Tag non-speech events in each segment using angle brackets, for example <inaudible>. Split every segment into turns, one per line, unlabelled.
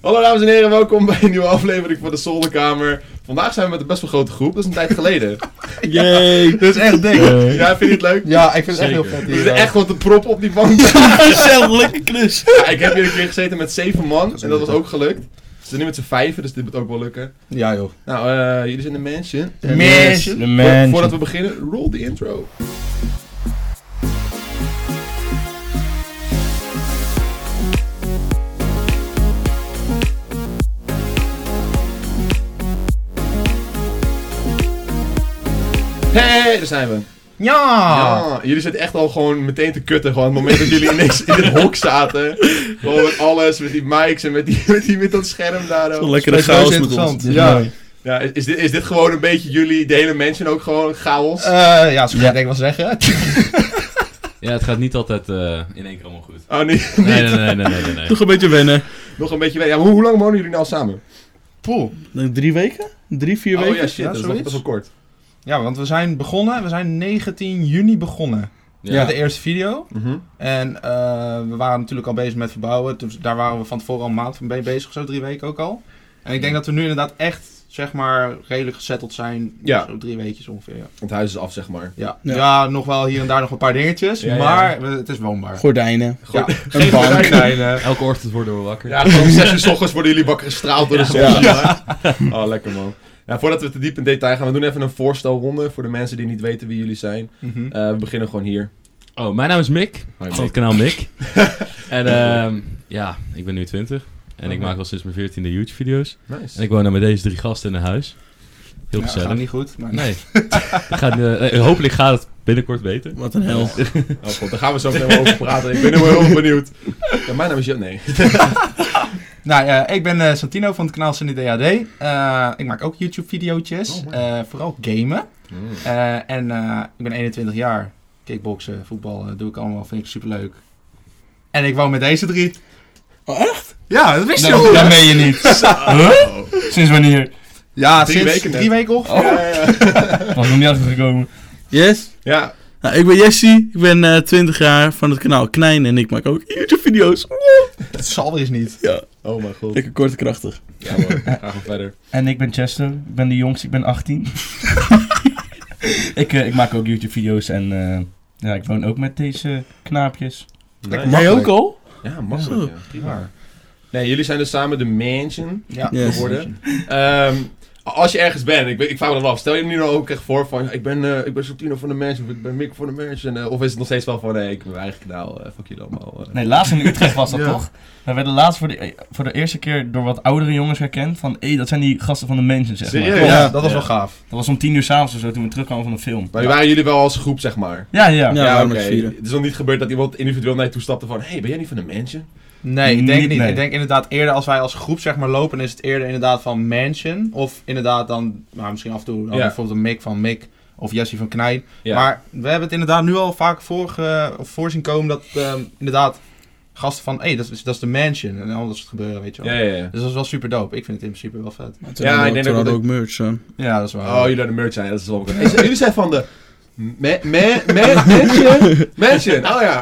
Hallo dames en heren, welkom bij een nieuwe aflevering van de Zolderkamer. Vandaag zijn we met een best wel grote groep, dat is een tijd geleden.
<laughs> Yay!
Dit is echt dik.
Ja, vind je het leuk?
Ja, ik vind het echt
Zeker.
heel vet
We
hier.
zitten echt wat te prop op die bank. <laughs>
Gezellige klus!
Ja, ik heb hier een keer gezeten met zeven man en dat was ook gelukt. We zitten nu met z'n vijven, dus dit moet ook wel lukken.
Ja joh.
Nou, eh, jullie zijn de mansion.
Mansion.
De
Vo-
man.
Voordat we beginnen, roll the intro. Hey, daar zijn we.
Ja!
Ja, jullie zitten echt al gewoon meteen te kutten. Gewoon het moment dat jullie ineens in dit hok zaten. Gewoon met alles, met die mics en met, die, met, die, met dat scherm daar. ook.
Lekkere
Spreekt
chaos
heus
met ons.
interessant.
Dit is
Ja.
mooi.
Ja, is, is dit, is dit gewoon een beetje jullie, de hele mensen ook gewoon chaos?
Eh, ja, zo kan je denk ik wel zeggen. <laughs>
Ja, het gaat niet altijd eh, in één keer allemaal
<laughs>
goed.
Oh nee,
Nee, nee, nee, nee, nee, nee. nee.
Toch een beetje wennen.
nog een beetje weg. Ja, maar hoe, hoe lang wonen jullie nou samen?
Poeh.
Drie weken? Drie, vier
oh
weken?
ja, shit,
ja,
dat, is nog,
zoiets.
dat is wel kort.
Ja, want we zijn begonnen, we zijn 19 juni begonnen met de eerste video.
Mhm.
En eh, we waren natuurlijk al bezig met verbouwen, dus daar waren we van tevoren al een maand mee bezig, zo drie weken ook al. En ik denk dat we nu inderdaad echt, zeg maar, redelijk gezetteld zijn,
Ja.
zo drie weekjes ongeveer. ja.
Het huis is af, zeg maar.
Ja.
Ja.
Ja. nog wel hier en daar nog een paar dingetjes,
Ja, ja.
maar we- het is woonbaar.
Gordijnen.
Ja, <laughs>
Een bank.
<laughs>
gordijnen.
Elke ochtend worden we wakker.
Ja, <laughs> gewoon om zes uur s ochtends worden jullie wakker gestraald door de zon.
Ja.
zeg maar. <laughs> Oh, lekker man. Ja, voordat we te diep in detail gaan, we doen even een voorstelronde voor de mensen die niet weten wie jullie zijn.
Mhm.
Eh, we beginnen gewoon hier.
Oh, mijn naam is Mick.
Hi,
Van
Mick.
het kanaal
<laughs>
Mick. en ehm, ja, ik ben nu 20. En ik
Oké.
maak al sinds mijn 14e YouTube-video's. En
Nice.
ik woon dan met deze drie gasten in een huis. Heel
Ja,
gezellig.
gaat niet goed, maar...
<laughs>
Nee. Het gaat, eh, nee, Hopelijk gaat het binnenkort beter.
Wat een hel.
Oh, god, daar gaan we zo meteen wel over praten. Ik ben helemaal heel benieuwd. Ja, mijn naam is Jo. Nee.
Nou, eh, ik ben eh, Santino van het kanaal Sunny DAD. Eh, ik maak ook YouTube-videootjes.
Oh, mooi.
eh, vooral gamen.
Mm.
Eh, en eh, ik ben 21 jaar. Kickboksen, voetbal, eh, doe ik allemaal. Vind ik superleuk. En ik woon met deze drie.
Oh, echt?
Ja, dat wist
je al, hè?
Dat meen je niet.
Huh?
Sinds wanneer? Ja,
Drie
sinds
weken net.
drie weken Oh. of?
Ja, ja, ja.
Was nog niet uitgekomen. Yes?
<laughs> ja,
Nou, ik ben Jessie, ik ben eh 20 jaar van het kanaal Knijn en ik maak ook YouTube-video's.
Het zal weer eens niet.
oh mijn god.
Lekker kort en krachtig.
Ja man, gaan we verder.
En ik ben Chester, ik ben de jongste, ik
<laughs>
ben 18. ik, eh, ik maak ook YouTube-video's en eh, ja, ik woon ook met deze knaapjes.
Nice.
Jij ook al?
Ja, makkelijk. Ja, prima. Nee, jullie zijn dus samen de mansion.
Ja.
Yes.
geworden. Ehm, als je ergens bent, ik, ben- ik vraag me dat wel af. Stel je nu nou ook echt voor van, ik ben, eh ik ben Santino van de Mens, of ik ben Mick van de Mens. En, eh, of is het nog steeds wel van, nee, ik ben mijn eigen kanaal, eh, fuck jullie allemaal. eh.
Nee, laatst in Utrecht
<laughs>
was dat
Ja.
toch? We werden laatst voor de, eh, voor de eerste keer door wat oudere jongens herkend van... Hé, dat zijn die gasten van de mensen, zeg maar.
Serieus?
Klopt.
Klopt,
Ja.
dat was wel
Ja.
gaaf.
Dat was om tien uur s'avonds of zo toen we terugkwamen van de film.
Maar waren jullie wel als groep, zeg maar?
Ja, ja.
Ja.
oké.
waren met vieren.
Het is nog niet gebeurd dat iemand individueel naar je toe stapte van, hey, ben jij niet van de Mansion?
Nee, ik denk
Niet,
niet.
nee.
Ik denk inderdaad eerder als wij als groep zeg maar lopen, is het eerder inderdaad van mansion. Of inderdaad dan, nou, misschien af en toe dan
Ja.
bijvoorbeeld een Mick van Mick of Jesse van Knijn.
Ja.
Maar we hebben het inderdaad nu al vaak voor, eh, voor zien komen dat ehm, inderdaad gasten van, hé, hey, dat, is, dat is de mansion. En al dat soort gebeuren, weet je wel.
Ja, ja, ja.
Dus dat is wel super dope. Ik vind het in principe wel vet.
Ja,
Ja, ik denk dat
we hadden
ik-
ook merch, zo.
Ja, dat is
Oh,
wel.
jullie aan de merch zijn, dat is wel bekend. Hey, Jullie zijn van de... Ma- <laughs> ma- ma- mansion? Mansion, oh ja.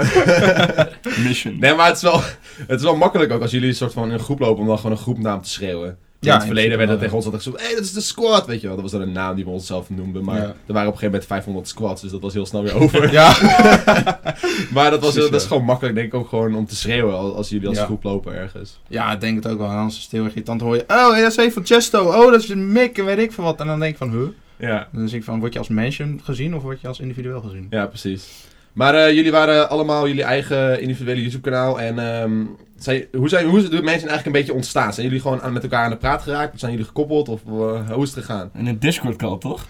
Mission.
Nee, maar het is, wel, het is wel makkelijk ook als jullie een soort van in een groep lopen om dan gewoon een groepnaam te schreeuwen. Ja, in het verleden
in principe
werd
wel,
dat tegen ons altijd gezegd, hé, hey, dat is de squad, weet je wel. Dat was dan een naam die we onszelf noemden, maar
Ja.
er waren op een gegeven moment 500 squads, dus dat was heel snel weer over.
<laughs> Ja.
<laughs> maar dat, was,
Precies,
dat is
ja.
gewoon makkelijk, denk ik, ook gewoon om te schreeuwen als, als jullie als
Ja.
groep lopen ergens.
ja, ik denk het ook wel. En Anders is het heel erg irritant. Dan hoor je, oh, dat is even van Chesto. Oh, dat is Mick en weet ik veel wat. En dan denk ik van, huh?
Ja,
Dan denk ik van, word je als mansion gezien of word je als individueel gezien?
ja precies. Maar eh, jullie waren allemaal jullie eigen individuele YouTube-kanaal en ehm, zijn, hoe, zijn, hoe is de mensen eigenlijk een beetje ontstaan? Zijn jullie gewoon aan, met elkaar aan de praat geraakt? Of zijn jullie gekoppeld? Of eh, hoe is het gegaan?
In een Discord-call, toch?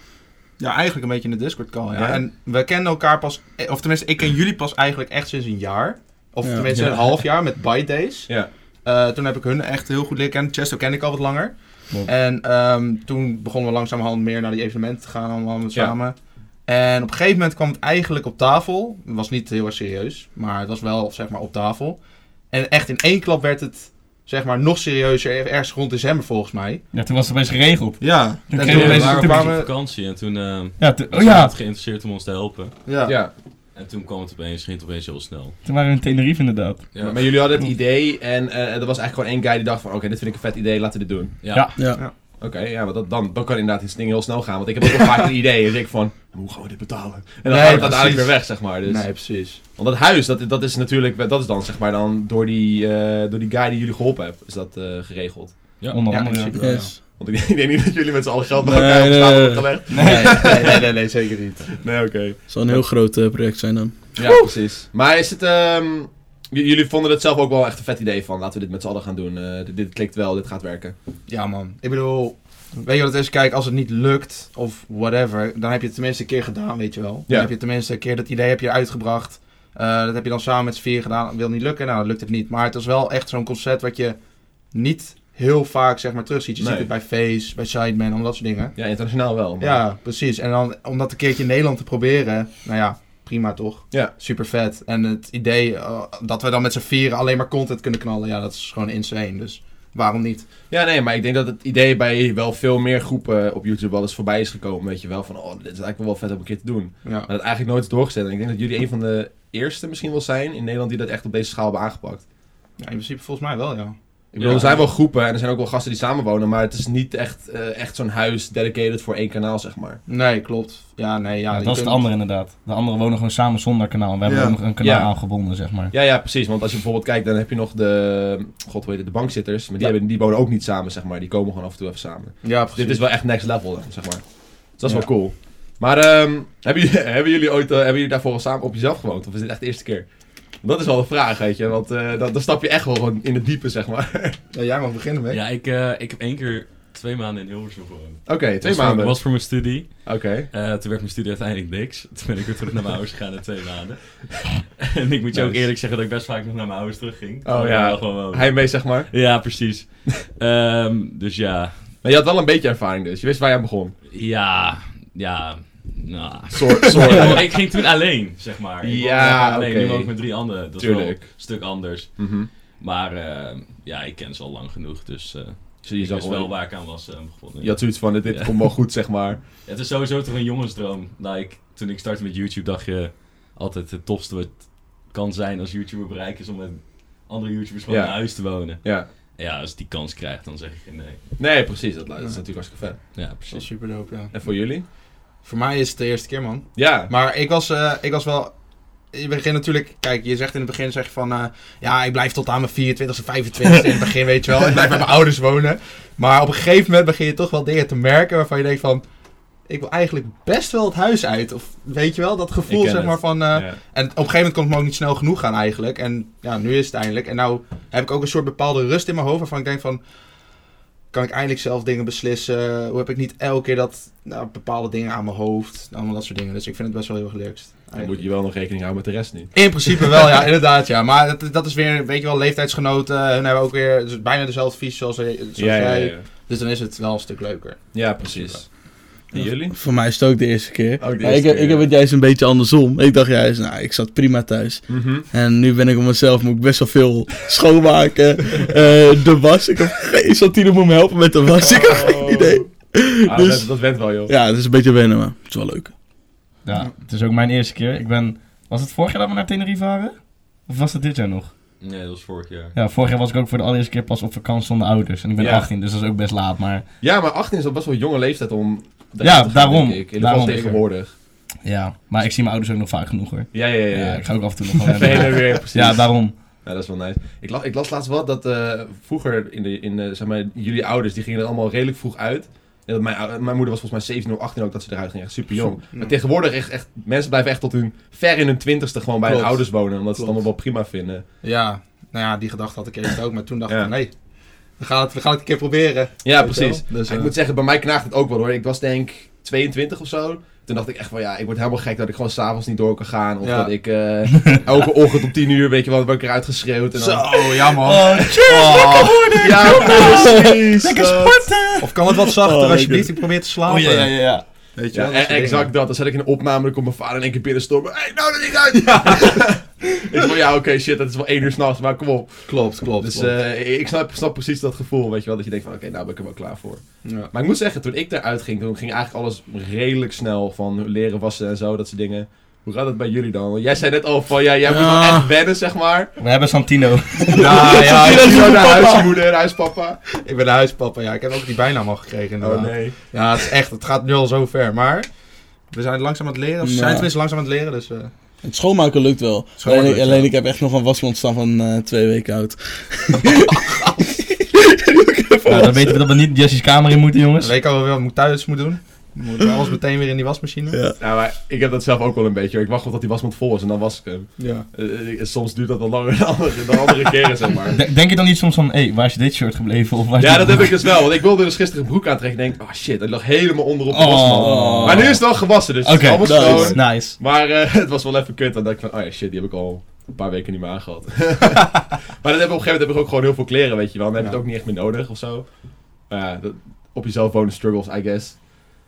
Ja, eigenlijk een beetje in de Discord call. Ja.
Ja.
En we kennen elkaar pas, of tenminste, ik ken jullie pas eigenlijk echt sinds een jaar. Of
Ja.
tenminste
Ja.
een half jaar met Byte Days.
Ja.
Eh, toen heb ik hun echt heel goed leren kennen. Chesto ken ik al wat langer.
Ja.
En ehm, toen begonnen we langzamerhand meer naar die evenementen te gaan, allemaal met
Ja.
samen. En op een gegeven moment kwam het eigenlijk op tafel. Het was niet heel erg serieus, maar het was wel zeg maar op tafel. En echt in één klap werd het zeg maar nog serieuzer, ergens rond december volgens mij.
Ja, toen was het opeens geregeld.
Ja,
Toen
en
kregen
toen
we
we
deze
waren
kwamen
op vakantie en toen eh
Ja, toen-
was
oh ja.
iemand geïnteresseerd om ons te helpen.
Ja.
ja.
En toen kwam het opeens, ging het opeens heel snel.
Toen waren we in Tenerife inderdaad.
Ja,
Maar jullie hadden het idee en eh, er was eigenlijk gewoon één guy die dacht van... Oké, dit vind ik een vet idee, laten we dit doen.
ja.
Ja.
Ja.
Oké, ja, maar dat, dan, dan kan inderdaad iets ding heel snel gaan. Want ik heb ook wel vaak het idee, dus ik van... Hoe gaan we dit betalen? En dan
Nee,
gaat het
precies.
uiteindelijk weer weg, zeg maar. Dus.
Nee, precies.
Want dat huis, dat, dat is natuurlijk... Dat is dan, zeg maar, dan door die, eh, door die guy die jullie geholpen hebben, is dat eh, geregeld.
Ja.
Onder
Ja,
andere.
in principe.
Yes.
Want ik, <laughs> ik denk niet dat jullie met z'n allen geld bij
Nee,
elkaar op tafel
nee,
hebben gelegd.
<laughs> Nee, nee, nee, nee, nee, zeker niet.
Nee, oké.
Zal een heel groot eh, project zijn dan.
Ja, precies. Maar is het... ehm, j- jullie vonden het zelf ook wel echt een vet idee van... Laten we dit met z'n allen gaan doen. Eh, dit, dit klikt wel, dit gaat werken.
Ja, man. Ik bedoel, weet je wat het is? Kijk, als het niet lukt of whatever, dan heb je het tenminste een keer gedaan, weet je wel. Dan
Ja.
heb je tenminste een keer dat idee heb je uitgebracht. Eh, dat heb je dan samen met z'n vier gedaan. Het wil niet lukken, nou, dan lukt het niet. Maar het is wel echt zo'n concept wat je niet heel vaak, zeg maar, terugziet. Je
Nee.
ziet het bij Face, bij Sideman, allemaal dat soort dingen.
Ja, internationaal wel. maar-
Ja, precies. En dan om dat een keertje in Nederland te proberen, nou ja, prima toch?
Ja.
Super vet. En het idee eh, dat we dan met z'n vieren alleen maar content kunnen knallen, ja, dat is gewoon insane. Dus waarom niet?
Ja, nee, maar ik denk dat het idee bij wel veel meer groepen op YouTube wel eens voorbij is gekomen. Weet je wel, van oh, dit is eigenlijk wel vet om een keer te doen.
Ja.
Maar dat eigenlijk nooit is doorgezet. En ik denk dat jullie een van de eerste misschien wel zijn in Nederland die dat echt op deze schaal hebben aangepakt.
Ja, in principe volgens mij wel, ja.
Ik bedoel,
Ja.
er zijn wel groepen en er zijn ook wel gasten die samenwonen, maar het is niet echt, eh, echt zo'n huis dedicated voor één kanaal, zeg maar.
Nee, klopt. Ja, nee, ja.
Ja,
je
dat is
kunt-
het andere inderdaad. De anderen wonen gewoon samen zonder kanaal. We hebben
Ja.
ook nog een kanaal
Ja.
aangebonden, zeg maar.
Ja, ja, precies. Want als je bijvoorbeeld kijkt, dan heb je nog de, god, hoe heet het, de bankzitters. Maar die,
Ja.
hebben, die wonen ook niet samen, zeg maar. Die komen gewoon af en toe even samen.
Ja, precies.
Dit is wel echt next level, dan, zeg maar. Dus dat is
Ja.
wel cool. Maar ehm, hebben, jullie, <laughs> hebben jullie ooit eh, hebben jullie daarvoor al samen op jezelf gewoond? Of is dit echt de eerste keer? Dat is wel de vraag, weet je. Want eh, dan, dan stap je echt wel gewoon in het diepe, zeg maar. <laughs>
Ja, jij mag beginnen mee.
Ja, ik, eh, ik heb één keer twee maanden in Hilversum gewoond.
Oké, twee
Was voor-
maanden.
was voor mijn studie.
Oké.
Eh, toen werd mijn studie uiteindelijk niks. <laughs> Toen ben ik weer terug naar mijn ouders gegaan na twee maanden. <laughs> en ik moet je ook
Nice.
eerlijk zeggen dat ik best vaak nog naar mijn ouders terugging.
Oh,
Gewoon,
ja.
eh, gewoon wonen.
Hij mee, zeg maar.
Ja, precies. <laughs> Ehm, dus ja.
Maar je had wel een beetje ervaring dus. Je wist waar je aan begon.
Ja. Ja. Nou.
Soort, soort.
ik ging toen alleen, zeg maar. Ik woonde
Ja,
alleen.
oké.
Nu woon ik met drie anderen. Dat is wel
Tuurlijk.
een stuk anders.
<laughs> Mhm.
Maar eh, ja, ik ken ze al lang genoeg. Dus eh
Zie je
ik wist
zelf
wel
wel.
waar ik aan was eh, begonnen.
Je had zoiets van, dit, dit
Ja.
komt wel goed, zeg maar.
Het is sowieso toch een jongensdroom. Like, toen ik startte met YouTube dacht je altijd het tofste wat kan zijn als YouTuber bereik is om met andere YouTubers gewoon
Ja.
in huis te wonen.
Ja.
En Ja, als ik die kans krijg, dan zeg ik eh, nee.
Nee, precies. Dat, dat is natuurlijk hartstikke vet.
Ja,
Dat is
precies.
super dope, ja.
En voor jullie?
Voor mij is het de eerste keer, man.
Ja.
Maar ik was, eh, ik was wel... Je begint natuurlijk... Kijk, je zegt in het begin zeg je van... eh, ja, ik blijf tot aan mijn 24 e 25 in het begin, <laughs> weet je wel. Ik blijf bij mijn ouders wonen. Maar op een gegeven moment begin je toch wel dingen te merken waarvan je denkt van... Ik wil eigenlijk best wel het huis uit. Of weet je wel, dat
Ik
gevoel
ken
zeg
het.
maar van... eh,
ja.
En op een gegeven moment kon het me ook niet snel genoeg gaan eigenlijk. En ja, nu is het eindelijk. En nou heb ik ook een soort bepaalde rust in mijn hoofd waarvan ik denk van... Kan ik eindelijk zelf dingen beslissen? Hoe heb ik niet elke keer dat nou, bepaalde dingen aan mijn hoofd? Allemaal dat soort dingen. Dus ik vind het best wel heel relaxed.
Dan
eigenlijk.
moet je wel nog rekening houden met de rest nu.
In principe wel,
<laughs>
ja, inderdaad, ja. Maar dat, dat is weer, weet je wel, leeftijdsgenoten. Hun hebben ook weer dus bijna dezelfde vies zoals, eh, zoals jij. Dus dan is het wel een stuk leuker.
Ja, precies. En jullie?
Voor mij is het ook de eerste keer.
Ook de
Maar
eerste
ik,
keer,
ik heb
ja.
het juist een beetje andersom. Ik dacht juist, nou, ik zat prima thuis. En nu ben ik op mezelf, moet ik best wel veel schoonmaken. Eh, de was, ik heb geen Santino moet me helpen met de <laughs> was. Ik heb geen idee.
Oh. Ah,
<laughs> Dus-
dat, dat went wel, joh.
Ja, het is een beetje wennen, maar het is wel leuk.
Ja, het is ook mijn eerste keer. Ik ben... Was het vorig jaar dat we naar Tenerife waren? Of was dat dit jaar nog?
Nee, dat was vorig jaar.
Ja, vorig jaar was ik ook voor de allereerste keer pas op vakantie zonder ouders. En ik ben
Ja.
18, dus dat is ook best laat. Maar
Ja, maar 18 is al best wel een jonge leeftijd om. eruit
Ja,
te
daarom.
denk ik. In ieder geval
Daarom.
tegenwoordig.
ja, maar ik zie mijn ouders ook nog vaak genoeg hoor.
Ja, ja, ja.
Ja,
ja.
ik ga ook af en toe
<laughs>
nog wel
Even heen
naar-
en weer, precies.
Ja, daarom.
Ja, dat is wel nice. Ik, la- ik las laatst wat dat eh, vroeger, in de, in, eh, zeg maar, jullie ouders, die gingen er allemaal redelijk vroeg uit. En dat mijn, ou- mijn moeder was volgens mij 17 of 18 ook dat ze eruit ging. Echt super jong.
Ja.
Maar tegenwoordig, echt, echt, mensen blijven echt tot hun, ver in hun twintigste gewoon bij hun
Klopt.
ouders wonen. Omdat ze het
Klopt.
allemaal wel prima vinden.
Ja, nou ja, die gedachte had ik eerst ook. Maar toen dacht ik
Ja.
van, nee, we gaan het, we gaan het een keer proberen.
Ja,
Weet je
precies.
wel? Dus,
ik
eh,
moet zeggen, bij mij knaagt het ook wel hoor. Ik was denk 22 of zo. Toen dacht ik echt van ja, ik word helemaal gek dat ik gewoon s'avonds niet door kan gaan. Of
Ja.
dat ik eh,
<laughs>
elke ochtend om 10 uur, weet je wel, word ik eruit geschreeuwd. En dan... Oh,
Zo, ja man.
Ah. <laughs>
Ja, precies. dat.
Of kan het wat zachter
Oh,
alsjeblieft?
ik-
Ik probeer te
<laughs>
slapen.
ja.
Weet je
Ja,
wel, dat
e-
soort
exact dat. Dan zet ik in een opname, dan komt mijn vader in één keer binnenstormen. Hé, hey, nou er niet
<laughs>
uit! <laughs> ik van ja, oké, shit, dat is wel één uur s'nachts, maar kom op.
dingen. Klopt, klopt.
Dus
klopt.
eh, ik snap, snap precies dat gevoel, weet je wel, dat je denkt van oké, nou ben ik er wel klaar voor.
ja.
Maar ik moet zeggen, toen ik eruit ging, toen ging eigenlijk alles redelijk snel. Van leren wassen en zo, dat soort dingen. Hoe gaat het bij jullie dan? Want jij zei net al van, ja, jij moet
Ja.
wel echt wennen, zeg
<laughs>
maar.
We hebben
<laughs>
Santino.
Nou ja,
ik
ik-
ben zo naar huismoeder, huispapa.
ik ben de huispapa. Ja, ik heb ook die bijnaam al gekregen inderdaad.
Oh, nee.
Ja, het is echt, het gaat nu al zo ver. Maar we zijn langzaam aan het leren. Of ze
Ja.
zijn tenminste langzaam aan het leren, dus... eh,
Het schoonmaken lukt wel.
Schoonmaken
alleen
lukt
alleen
wel.
ik heb echt nog een wasmand staan van eh, twee weken oud.
Nou, dan weten we dat we niet Jesse's kamer in moeten, jongens.
Weet ik al wel wat ik thuis moet doen. Moet ik alles meteen weer in die wasmachine.
Ja.
Nou, maar ik heb dat zelf ook wel een beetje. hoor. Ik wacht wel tot die wasmand vol is en dan was ik hem.
Ja.
Eh, eh, soms duurt dat wat langer dan andere, dan andere keren, zeg maar.
De- denk je dan niet soms van, hé, waar is dit shirt gebleven? Of waar is
Ja,
dit-
dat heb ik dus wel. Want ik wilde dus gisteren een broek aantrekken. En denk, ah shit, dat lag helemaal onder op de
Oh.
wasmand. Maar nu is het wel gewassen, dus
Oké,
het is allemaal
nice.
schoon.
Nice.
Maar eh, <laughs> het was wel even kut. Dan dacht ik van, oh ja, shit, die heb ik al een paar weken niet meer
<laughs>
aangehad. maar dan heb ik op een gegeven moment heb ik ook gewoon heel veel kleren, weet je wel. Dan heb je
Ja.
het ook niet echt meer nodig of zo. Maar ja, dat- op jezelf wonen struggles, I guess.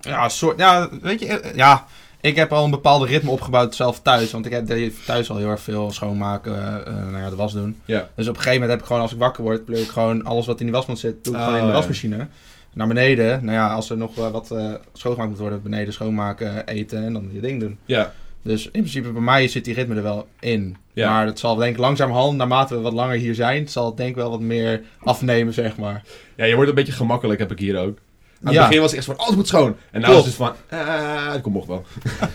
Ja, soort, ja, weet je, eh, ja, ik heb al een bepaalde ritme opgebouwd zelf thuis. Want ik heb- deed thuis al heel erg veel schoonmaken, eh, eh, nou ja, de was doen.
Ja.
Dus op een gegeven moment heb ik gewoon, als ik wakker word, pleur ik gewoon alles wat in die wasmand zit, doe ik
Oh,
gewoon in de
ja.
wasmachine. Naar beneden, nou ja, als er nog eh, wat eh, schoongemaakt moet worden, beneden schoonmaken, eten en dan je ding doen.
Ja,
Dus in principe bij mij zit die ritme er wel in.
Ja.
Maar het zal denk ik langzamerhand, naarmate we wat langer hier zijn, zal het denk ik wel wat meer afnemen, zeg maar.
ja je wordt een beetje gemakkelijk, heb ik hier ook. Aan
Ja.
het begin was ik echt van, oh, het moet schoon. En nu is
Klopt.
het van, ah, het komt nog wel.
<laughs>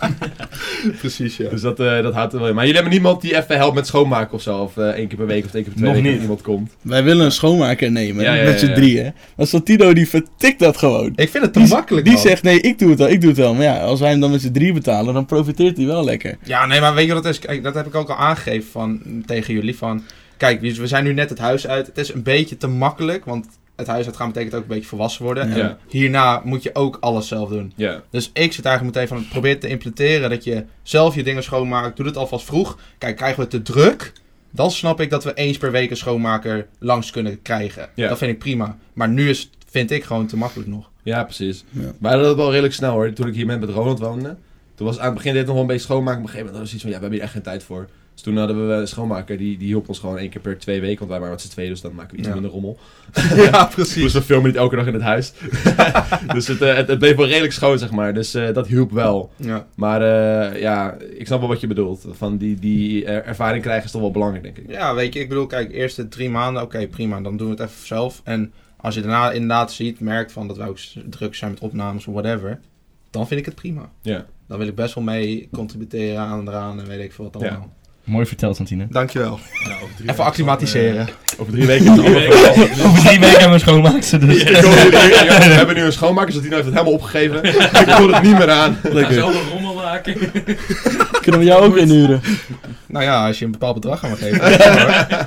Precies, ja.
Dus dat, eh, dat houdt er wel in. Maar jullie hebben niemand die even helpt met schoonmaken of zo? Of eh, één keer per week of één keer per twee
Nog
weken dat
niet.
iemand komt?
Wij willen een schoonmaker nemen,
Ja, ja,
met z'n
ja, ja.
drieën. Maar Santino die vertikt dat gewoon.
Ik vind het te
Die-
makkelijk,
Die
man.
zegt, nee, ik doe het wel, ik doe het wel. Maar ja, als wij hem dan met z'n drieën betalen, dan profiteert hij
<laughs>
wel lekker.
Ja, nee, maar weet je wat het is? Kijk, dat heb ik ook al aangegeven van, tegen jullie. Van, kijk, we zijn nu net het huis uit. Het is een beetje te makkelijk, want het huis uitgaan betekent ook een beetje volwassen worden.
Ja.
En hierna moet je ook alles zelf doen.
Ja.
Dus ik zit eigenlijk meteen van, probeer te implementeren dat je zelf je dingen schoonmaakt. Doe het alvast vroeg. Kijk, krijgen we het te druk? Dan snap ik dat we eens per week een schoonmaker langs kunnen krijgen.
Ja.
Dat vind ik prima. Maar nu is, het, vind ik gewoon te makkelijk nog.
Ja, precies.
Ja.
Maar dat hadden wel redelijk snel hoor. Toen ik hier met, met Ronald woonde. Toen was aan het begin dit nog wel een beetje schoonmaken. Op een gegeven moment was het iets van, ja, we hebben hier echt geen tijd voor. Dus toen hadden we een schoonmaker, die, die hielp ons gewoon één keer per twee weken. Want wij waren met z'n tweeën, dus dan maken we iets
Ja.
minder <laughs> rommel.
ja, precies.
Dus we filmen niet elke dag in het huis. <laughs> dus het, eh, het, het bleef wel redelijk schoon, zeg maar. Dus eh, dat hielp wel.
Ja.
Maar eh, ja, ik snap wel wat je bedoelt. Van die, die eh, ervaring krijgen is toch wel belangrijk, denk ik.
Ja, weet je, ik bedoel, kijk, eerste drie maanden, oké, prima, dan doen we het even zelf. En als je daarna inderdaad ziet, merkt van dat we ook s- druk zijn met opnames of whatever, dan vind ik het prima.
Ja.
Dan wil ik best wel mee contributeren aan eraan en weet ik veel wat
Ja. Nou,
allemaal.
Mooi verteld, Santino.
Dankjewel. Even acclimatiseren.
Over drie weken is het allemaal veranderd. <laughs>
Over drie weken hebben we schoonmaakt ze dus.
Ik hoor jullie- We hebben nu een schoonmaker, dus die heeft het helemaal opgegeven. <laughs> Ik hoor het niet meer aan.
Ga zelf een rommel maken.
<laughs> Kunnen we jou ook inhuren?
Nou ja, als je een bepaald bedrag aan me geeft. dan wel, hoor.
Nou,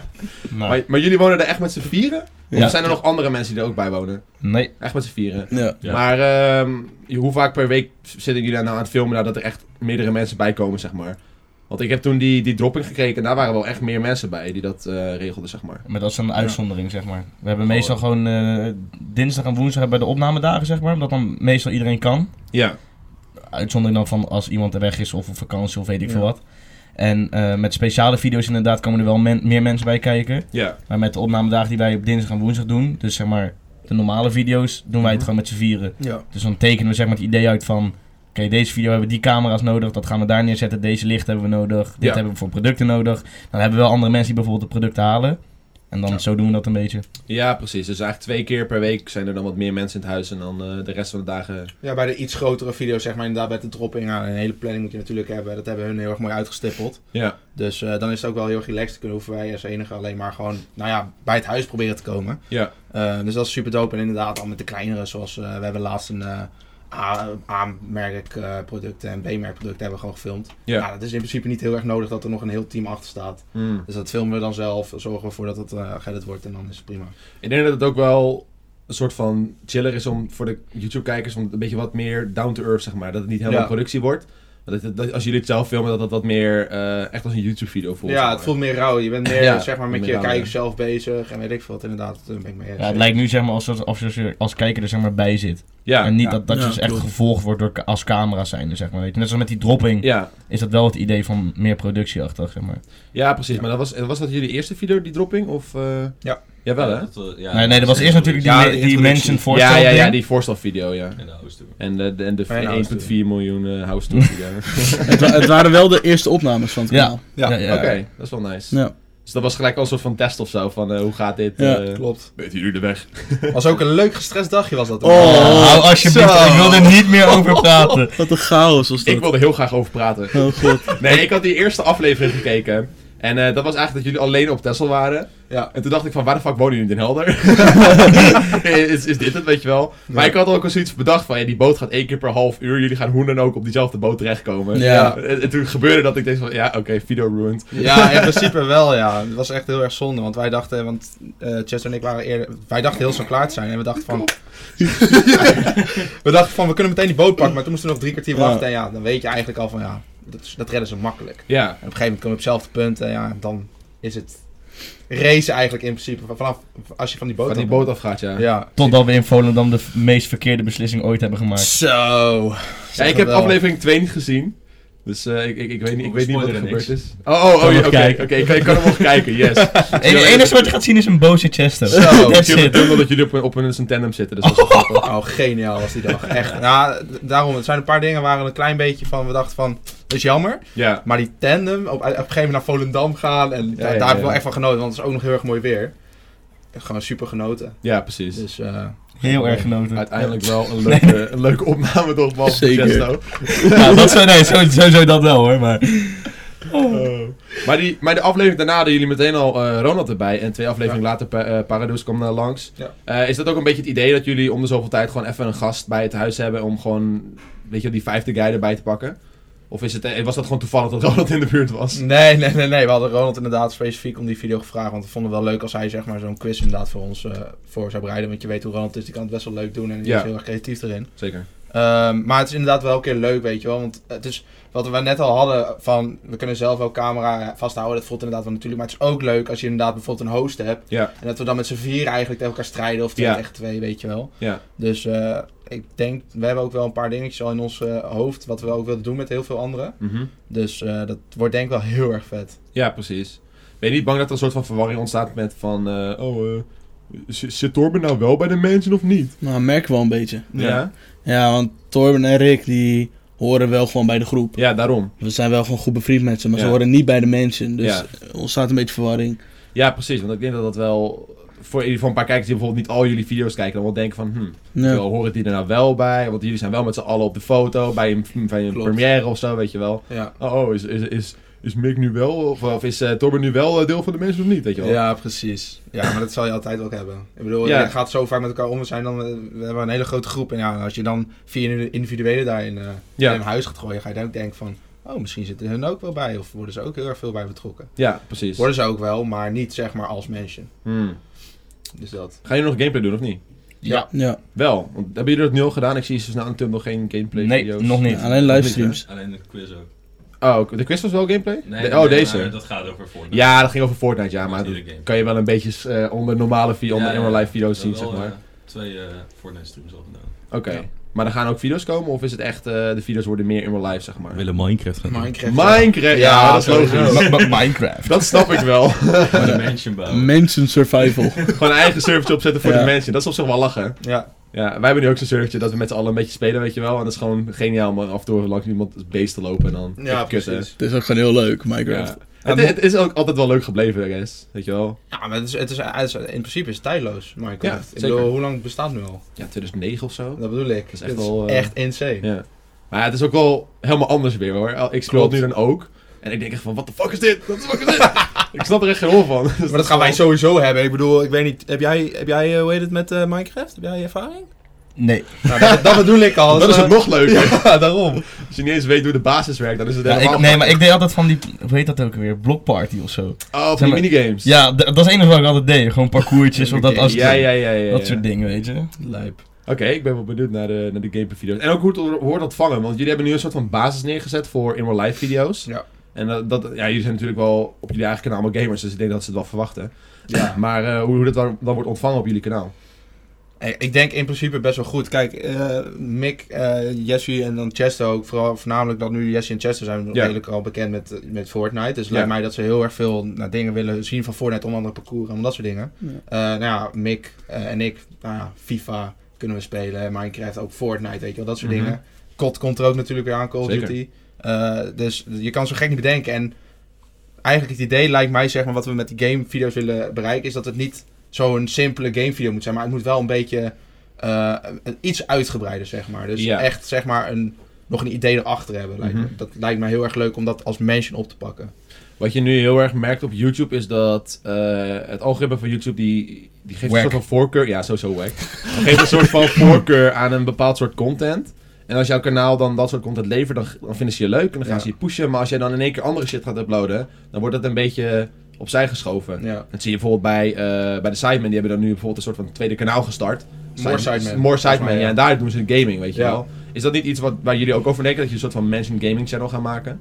Maar, maar jullie wonen er echt met z'n vieren? Of
Ja.
zijn er nog andere mensen die er ook bij wonen?
nee.
Echt met z'n vieren.
Ja.
Ja.
Maar ehm, je- hoe vaak per week zitten jullie daar nou aan het filmen nadat er echt meerdere mensen bij komen, zeg maar? Want ik heb toen die, die dropping gekeken en daar waren wel echt meer mensen bij die dat eh, regelden, zeg maar.
Maar dat is een uitzondering, zeg maar. We hebben meestal gewoon eh, dinsdag en woensdag hebben we de opnamedagen, zeg maar. Omdat dan meestal iedereen kan.
Ja.
Uitzondering dan van als iemand er weg is of op vakantie of weet ik
Ja.
veel wat. En eh, met speciale video's inderdaad komen er wel men- meer mensen bij kijken.
Ja.
Maar met de opnamedagen die wij op dinsdag en woensdag doen, dus zeg maar de normale video's, doen wij het
Mhm.
gewoon met z'n vieren.
<laughs> ja.
Dus dan tekenen we zeg maar het idee uit van, oké deze video hebben we die camera's nodig, dat gaan we daar neerzetten, deze licht hebben we nodig, dit
Ja.
hebben we voor producten nodig. Dan hebben we wel andere mensen die bijvoorbeeld de producten halen. En dan
Ja.
zo doen we dat een beetje.
ja, precies. Dus eigenlijk twee keer per week zijn er dan wat meer mensen in het huis en dan eh, de rest van de dagen...
ja, bij de iets grotere video's, zeg maar, inderdaad, bij de dropping, nou, een hele planning moet je natuurlijk hebben. Dat hebben hun heel erg mooi uitgestippeld.
Ja.
Dus eh, dan is het ook wel heel erg relaxed. Dan hoeven wij als enige alleen maar gewoon nou ja, bij het huis proberen te komen.
Ja.
Eh, dus dat is super dope. En inderdaad, al met de kleinere, zoals eh, we hebben laatst een eh, A- A-merk eh, producten en B-merk producten hebben we gewoon gefilmd.
Ja.
Nou, dat is in principe niet heel erg nodig dat er nog een heel team achter staat.
Hmm.
Dus dat filmen we dan zelf, zorgen we ervoor dat het eh geëdit wordt en dan is het prima.
Ik denk dat het ook wel een soort van chiller is om voor de YouTube-kijkers om een beetje wat meer down to earth, zeg maar. Dat het niet helemaal
Ja.
productie wordt. Maar Dat, het- dat- als jullie het zelf filmen, dat dat wat meer eh, echt als een YouTube-video voelt. zeg
ja,
maar.
het voelt meer rauw. Je bent
<laughs>
meer
Ja,
zeg maar, met
meer
je
rauw, ja.
kijkers zelf bezig en weet ik veel wat inderdaad. Daar ben ik mee eens.
Ja, het lijkt nu zeg maar alsof, alsof je als kijker er zeg maar bij zit.
Ja,
en niet
ja.
dat, dat je
Ja,
dus echt
klopt.
gevolgd wordt door, ca- als camera's zijn, zeg maar. Weet je. Net zoals met die dropping
ja,
is dat wel het idee van meer productieachtig, zeg maar.
ja, precies. Maar dat was, was dat jullie eerste video, die dropping? Of, eh,
Ja.
Jawel hè?
<laughs> dat, eh, ja,
nee, nee, dat was eerst natuurlijk die,
Ja,
me-
de
die
introductie.
mention voorstel.
Ja, ja, ja,
ding.
die voorstelvideo, ja.
En de hoofdstukken.
En de, de, en de
Bij een
1,4 miljoen eh house tour video.
<laughs> het, wa- het waren wel de eerste opnames van het
Ja.
kanaal.
Ja,
Ja, ja.
Oké, dat is wel nice.
Ja.
Dus dat was gelijk al een soort van test of zo, van eh, hoe gaat dit?
Ja.
eh,
klopt.
Weet jullie de weg?
Was ook een leuk gestrest dagje was dat.
Oh.
Hou alsjeblieft,
Zo.
ik wil er niet meer over praten.
Wat een chaos was dat.
Ik wilde heel graag over praten.
Oh god.
Nee, ik had die eerste aflevering gekeken. En eh, dat was eigenlijk dat jullie alleen op Texel waren.
Ja.
En toen dacht ik van, waar de fuck wonen jullie in Den
<laughs>
Helder? is, is dit het, weet je wel? Maar
Ja.
ik had ook al zoiets bedacht van, ja, die boot gaat één keer per half uur. Jullie gaan hoe dan ook op diezelfde boot terechtkomen.
Ja.
En, en toen gebeurde dat ik dacht van, ja, oké, video ruined.
Ja, in principe wel, ja. Het was echt heel erg zonde, want wij dachten, want eh Chester en ik waren eerder, wij dachten heel zo klaar te zijn en we dachten van, <laughs> we dachten van, we kunnen meteen die boot pakken, maar toen moesten we nog drie kwartier
Ja.
wachten en ja, dan weet je eigenlijk al van, ja, dat, is- dat redden ze makkelijk. En
Ja,
op een gegeven moment komen we op hetzelfde punt en ja, dan is het race eigenlijk in principe, van- vanaf, als je van die boot
van die
af-
boot afgaat, ja. ja.
Ja.
Totdat we in Volendam de f- meest verkeerde beslissing ooit hebben gemaakt.
Zo. Zeg
ik
het
heb
wel.
aflevering 2 niet gezien. Dus eh, ik, ik, ik weet niet, ik
We
weet niet wat er
spoileren
gebeurd
niks.
is. Oh, oh,
Kan
oh, ja,
nog
oké.
kijken.
Oké, ik kan- ik kan hem nog kijken,
<laughs>
yes.
Het enige wat je gaat zien is een boze Chester.
Zo.
<laughs> That's
Ik
it.
bedoel omdat jullie op, een- op een tandem zitten, dus dat is
<laughs>
wel grappig.
Oh, geniaal was die dag. Echt. <laughs> Nou, d- daarom, het zijn een paar dingen waar we een klein beetje van, we dachten van, dat is jammer.
Ja.
Maar die tandem, op, op een gegeven moment naar Volendam gaan. En daar,
ja,
daar heb ik
ja.
wel echt van genoten, want het is ook nog heel erg mooi weer. Gewoon super genoten.
ja, precies.
Dus eh,
Heel erg genoten.
Uiteindelijk wel een leuke, een leuke opname toch, man.
Zeker.
Chesto.
Ja, Nou, dat zo, nee, zo- sowieso dat wel hoor, maar...
Maar, die, maar de aflevering daarna hadden jullie meteen al eh, Ronald erbij. En twee afleveringen later pa eh, Paradies kwam daar langs.
Ja.
Eh, is dat ook een beetje het idee dat jullie om de zoveel tijd gewoon even een gast bij het huis hebben om gewoon, weet je, die vijfde guy erbij te pakken? Of is het, eh, was dat gewoon toevallig dat Ronald in de buurt was?
nee, nee, nee, nee. We hadden Ronald inderdaad specifiek om die video gevraagd. Want we vonden het wel leuk als hij zeg maar, zo'n quiz inderdaad voor ons eh, voor zou bereiden. Want je weet hoe Ronald is, die kan het best wel leuk doen en die
Ja.
is heel erg creatief erin.
Zeker.
Ehm, maar het is inderdaad wel een keer leuk, weet je wel. Want het is wat we net al hadden van, we kunnen zelf wel camera vasthouden. Dat voelt inderdaad wel natuurlijk. Maar het is ook leuk als je inderdaad bijvoorbeeld een host hebt.
Ja.
En dat we dan met z'n vier eigenlijk tegen elkaar strijden. Of
Ja.
tegen echt twee, weet je wel.
Ja.
Dus eh, ik denk, we hebben ook wel een paar dingetjes al in ons eh, hoofd. Wat we ook wilden doen met heel veel anderen.
Mhm.
Dus eh, dat wordt denk ik wel heel erg vet.
Ja, precies. Ben je niet bang dat er een soort van verwarring ontstaat met van, eh, oh, eh, zi- zit Torben nou wel bij de mensen of niet?
Nou, merk wel een beetje.
Ja. Ja,
Ja, want Torben en Rick, die horen wel gewoon bij de groep.
daarom.
We zijn wel gewoon goed bevriend met ze, maar ze
Ja.
horen niet bij de mensen. Dus
Ja.
er ontstaat een beetje verwarring.
Ja, precies. Want ik denk dat dat wel voor in ieder geval een paar kijkers die bijvoorbeeld niet al jullie video's kijken, dan wel denken van, hm,
Ja.
Terwijl, horen die er nou wel bij? Want jullie zijn wel met z'n allen op de foto, bij een, bij een
Klopt.
première of zo, weet je wel.
Ja,
Oh, oh, is, is, is, is Mick nu wel, of, of is eh, Torben nu wel eh, deel van de mensen of niet, weet je wel?
ja precies. Ja, maar dat zal je altijd wel hebben. Ik bedoel,
Ja.
je gaat zo vaak met elkaar om. We, zijn dan, we hebben een hele grote groep. En ja, als je dan vier individuele daarin eh
Ja.
in een huis gaat gooien, ga je dan ook denken van... Oh, misschien zitten hun ook wel bij. Of worden ze ook heel erg veel bij betrokken.
Ja, precies.
Worden ze ook wel, maar niet zeg maar als mensen.
Hmm.
Dus dat.
Gaan jullie nog gameplay doen of niet?
Ja.
Ja.
Wel, want hebben jullie dat nu al gedaan? Ik zie zo snel natuurlijk nog geen gameplay
Nee,
video's.
nog niet.
Ja, alleen livestreams.
Alleen de quiz ook.
Oh, ook- de quiz was wel gameplay?
Nee,
De-
nee,
oh,
maar
deze.
dat gaat over Fortnite.
Ja, dat ging over Fortnite, ja, maar
Dat is
dat
iedere game.
kan je wel een beetje eh, onder normale video, onder
Ja, ja,
in real life
ja.
video's
We
zien, zeg
hebben wel,
maar.
eh, Twee eh, Fortnite streams al gedaan.
Oké. Maar er gaan ook video's komen, of is het echt, eh, de video's worden meer in real life, zeg maar?
willen Minecraft gaan
Minecraft.
Minecraft, ja, dat is
sowieso.
logisch.
Minecraft.
Dat snap ik wel.
<laughs> Een mansion bouwen.
Mensen
<laughs>
survival.
Gewoon een eigen servertje opzetten voor
Ja.
de mensen. Dat is op zich wel lachen.
Ja.
Ja, wij hebben nu ook zo'n servertje dat we met z'n allen een beetje spelen, weet je wel. En dat is gewoon geniaal om af en toe langs iemand beest te lopen en dan
Ja,
te kutten.
precies.
het is ook gewoon heel leuk,
Ja.
Minecraft.
Het, het is ook altijd wel leuk gebleven, I guess. Weet je wel.
Ja, maar het is, het is, het is- in principe is het tijdloos,
Ja,
Minecraft. ik
zeker.
bedoel, hoe lang bestaat het nu al?
Ja, 2009 of zo.
Dat bedoel ik.
is
Het
echt wel, eh,
echt insane.
Ja. Maar ja, het is ook wel helemaal anders weer hoor. Ik speel het nu
Klopt.
dan ook. En ik denk echt van, wat de fuck is dit? What the fuck is <laughs> dit? ik snap er echt geen hol van. Dus
Maar dat gaan wij sowieso hebben. Ik bedoel, ik weet niet, heb jij, heb jij eh, hoe heet het met eh, Minecraft? Heb jij ervaring?
Nee.
Nou, dat, dat bedoel ik al. dus, eh,
Dat is het nog leuker.
<laughs> Ja, daarom.
Als je niet eens weet hoe de basis werkt, dan is het
Ja,
helemaal...
ik, nee, maar ik deed altijd van die, hoe heet dat ook weer, blockparty of zo.
Oh, van
Zeg
die
maar-
minigames.
Ja, d- dat is het enige wat ik altijd deed. Gewoon parcoursjes of dat, als,
ja, ja, ja, ja,
dat
ja.
soort dingen, weet je.
Lijp.
Oké, ik ben wel benieuwd naar de, naar de gameplay video's. En ook hoe het or- wordt ontvangen, want jullie hebben nu een soort van basis neergezet voor in real life video's.
Ja.
En dat, dat, ja, jullie zijn natuurlijk wel op jullie eigen kanaal allemaal gamers, dus ik denk dat ze het wel verwachten.
Ja.
Maar eh, hoe, hoe dat dan, dan wordt ontvangen op jullie kanaal.
Eh, Ik denk in principe best wel goed. Kijk, eh, Mick, eh Jesse en dan Chester ook. Vooral, voornamelijk dat nu Jesse en Chester zijn
Ja.
redelijk al bekend met, met Fortnite. Dus het lijkt
Ja.
mij dat ze heel erg veel nou, dingen willen zien van Fortnite. Onder andere parcours en dat soort dingen.
Ja.
Eh, nou ja, Mick eh, en ik, nou ja, FIFA kunnen we spelen. Minecraft, ook Fortnite, weet je wel. Dat soort
Mhm.
dingen. COD komt er ook natuurlijk weer aan, Call of
Zeker.
Duty. Eh, dus je kan zo gek niet bedenken. En eigenlijk het idee lijkt mij, zeg maar, wat we met die gamevideo's willen bereiken, is dat het niet zo'n simpele gamevideo moet zijn, maar het moet wel een beetje eh, een- iets uitgebreider, zeg maar. Dus
Ja.
echt, zeg maar, een, nog een idee erachter hebben. Lijkt me.
Mhm.
Dat lijkt mij heel erg leuk om dat als mansion op te pakken.
Wat je nu heel erg merkt op YouTube is dat eh, het algoritme van YouTube die, die geeft
Wack.
een soort van voorkeur. Ja, sowieso wack. Die geeft een soort van voorkeur aan een bepaald soort content. En als jouw kanaal dan dat soort content levert, dan, dan vinden ze je leuk en dan gaan
Ja.
ze je pushen. Maar als jij dan in één keer andere shit gaat uploaden, dan wordt dat een beetje opzij geschoven.
Ja.
Dat zie je bijvoorbeeld bij, eh, bij de Sidemen. Die hebben dan nu bijvoorbeeld een soort van tweede kanaal gestart.
More
Side-
Sidemen.
More
Volgens
Sidemen,
mij,
ja.
ja.
En daar doen ze de gaming, weet je
Ja.
wel. Is dat niet iets wat, waar jullie ook over denken? Dat je een soort van mansion gaming channel gaat maken?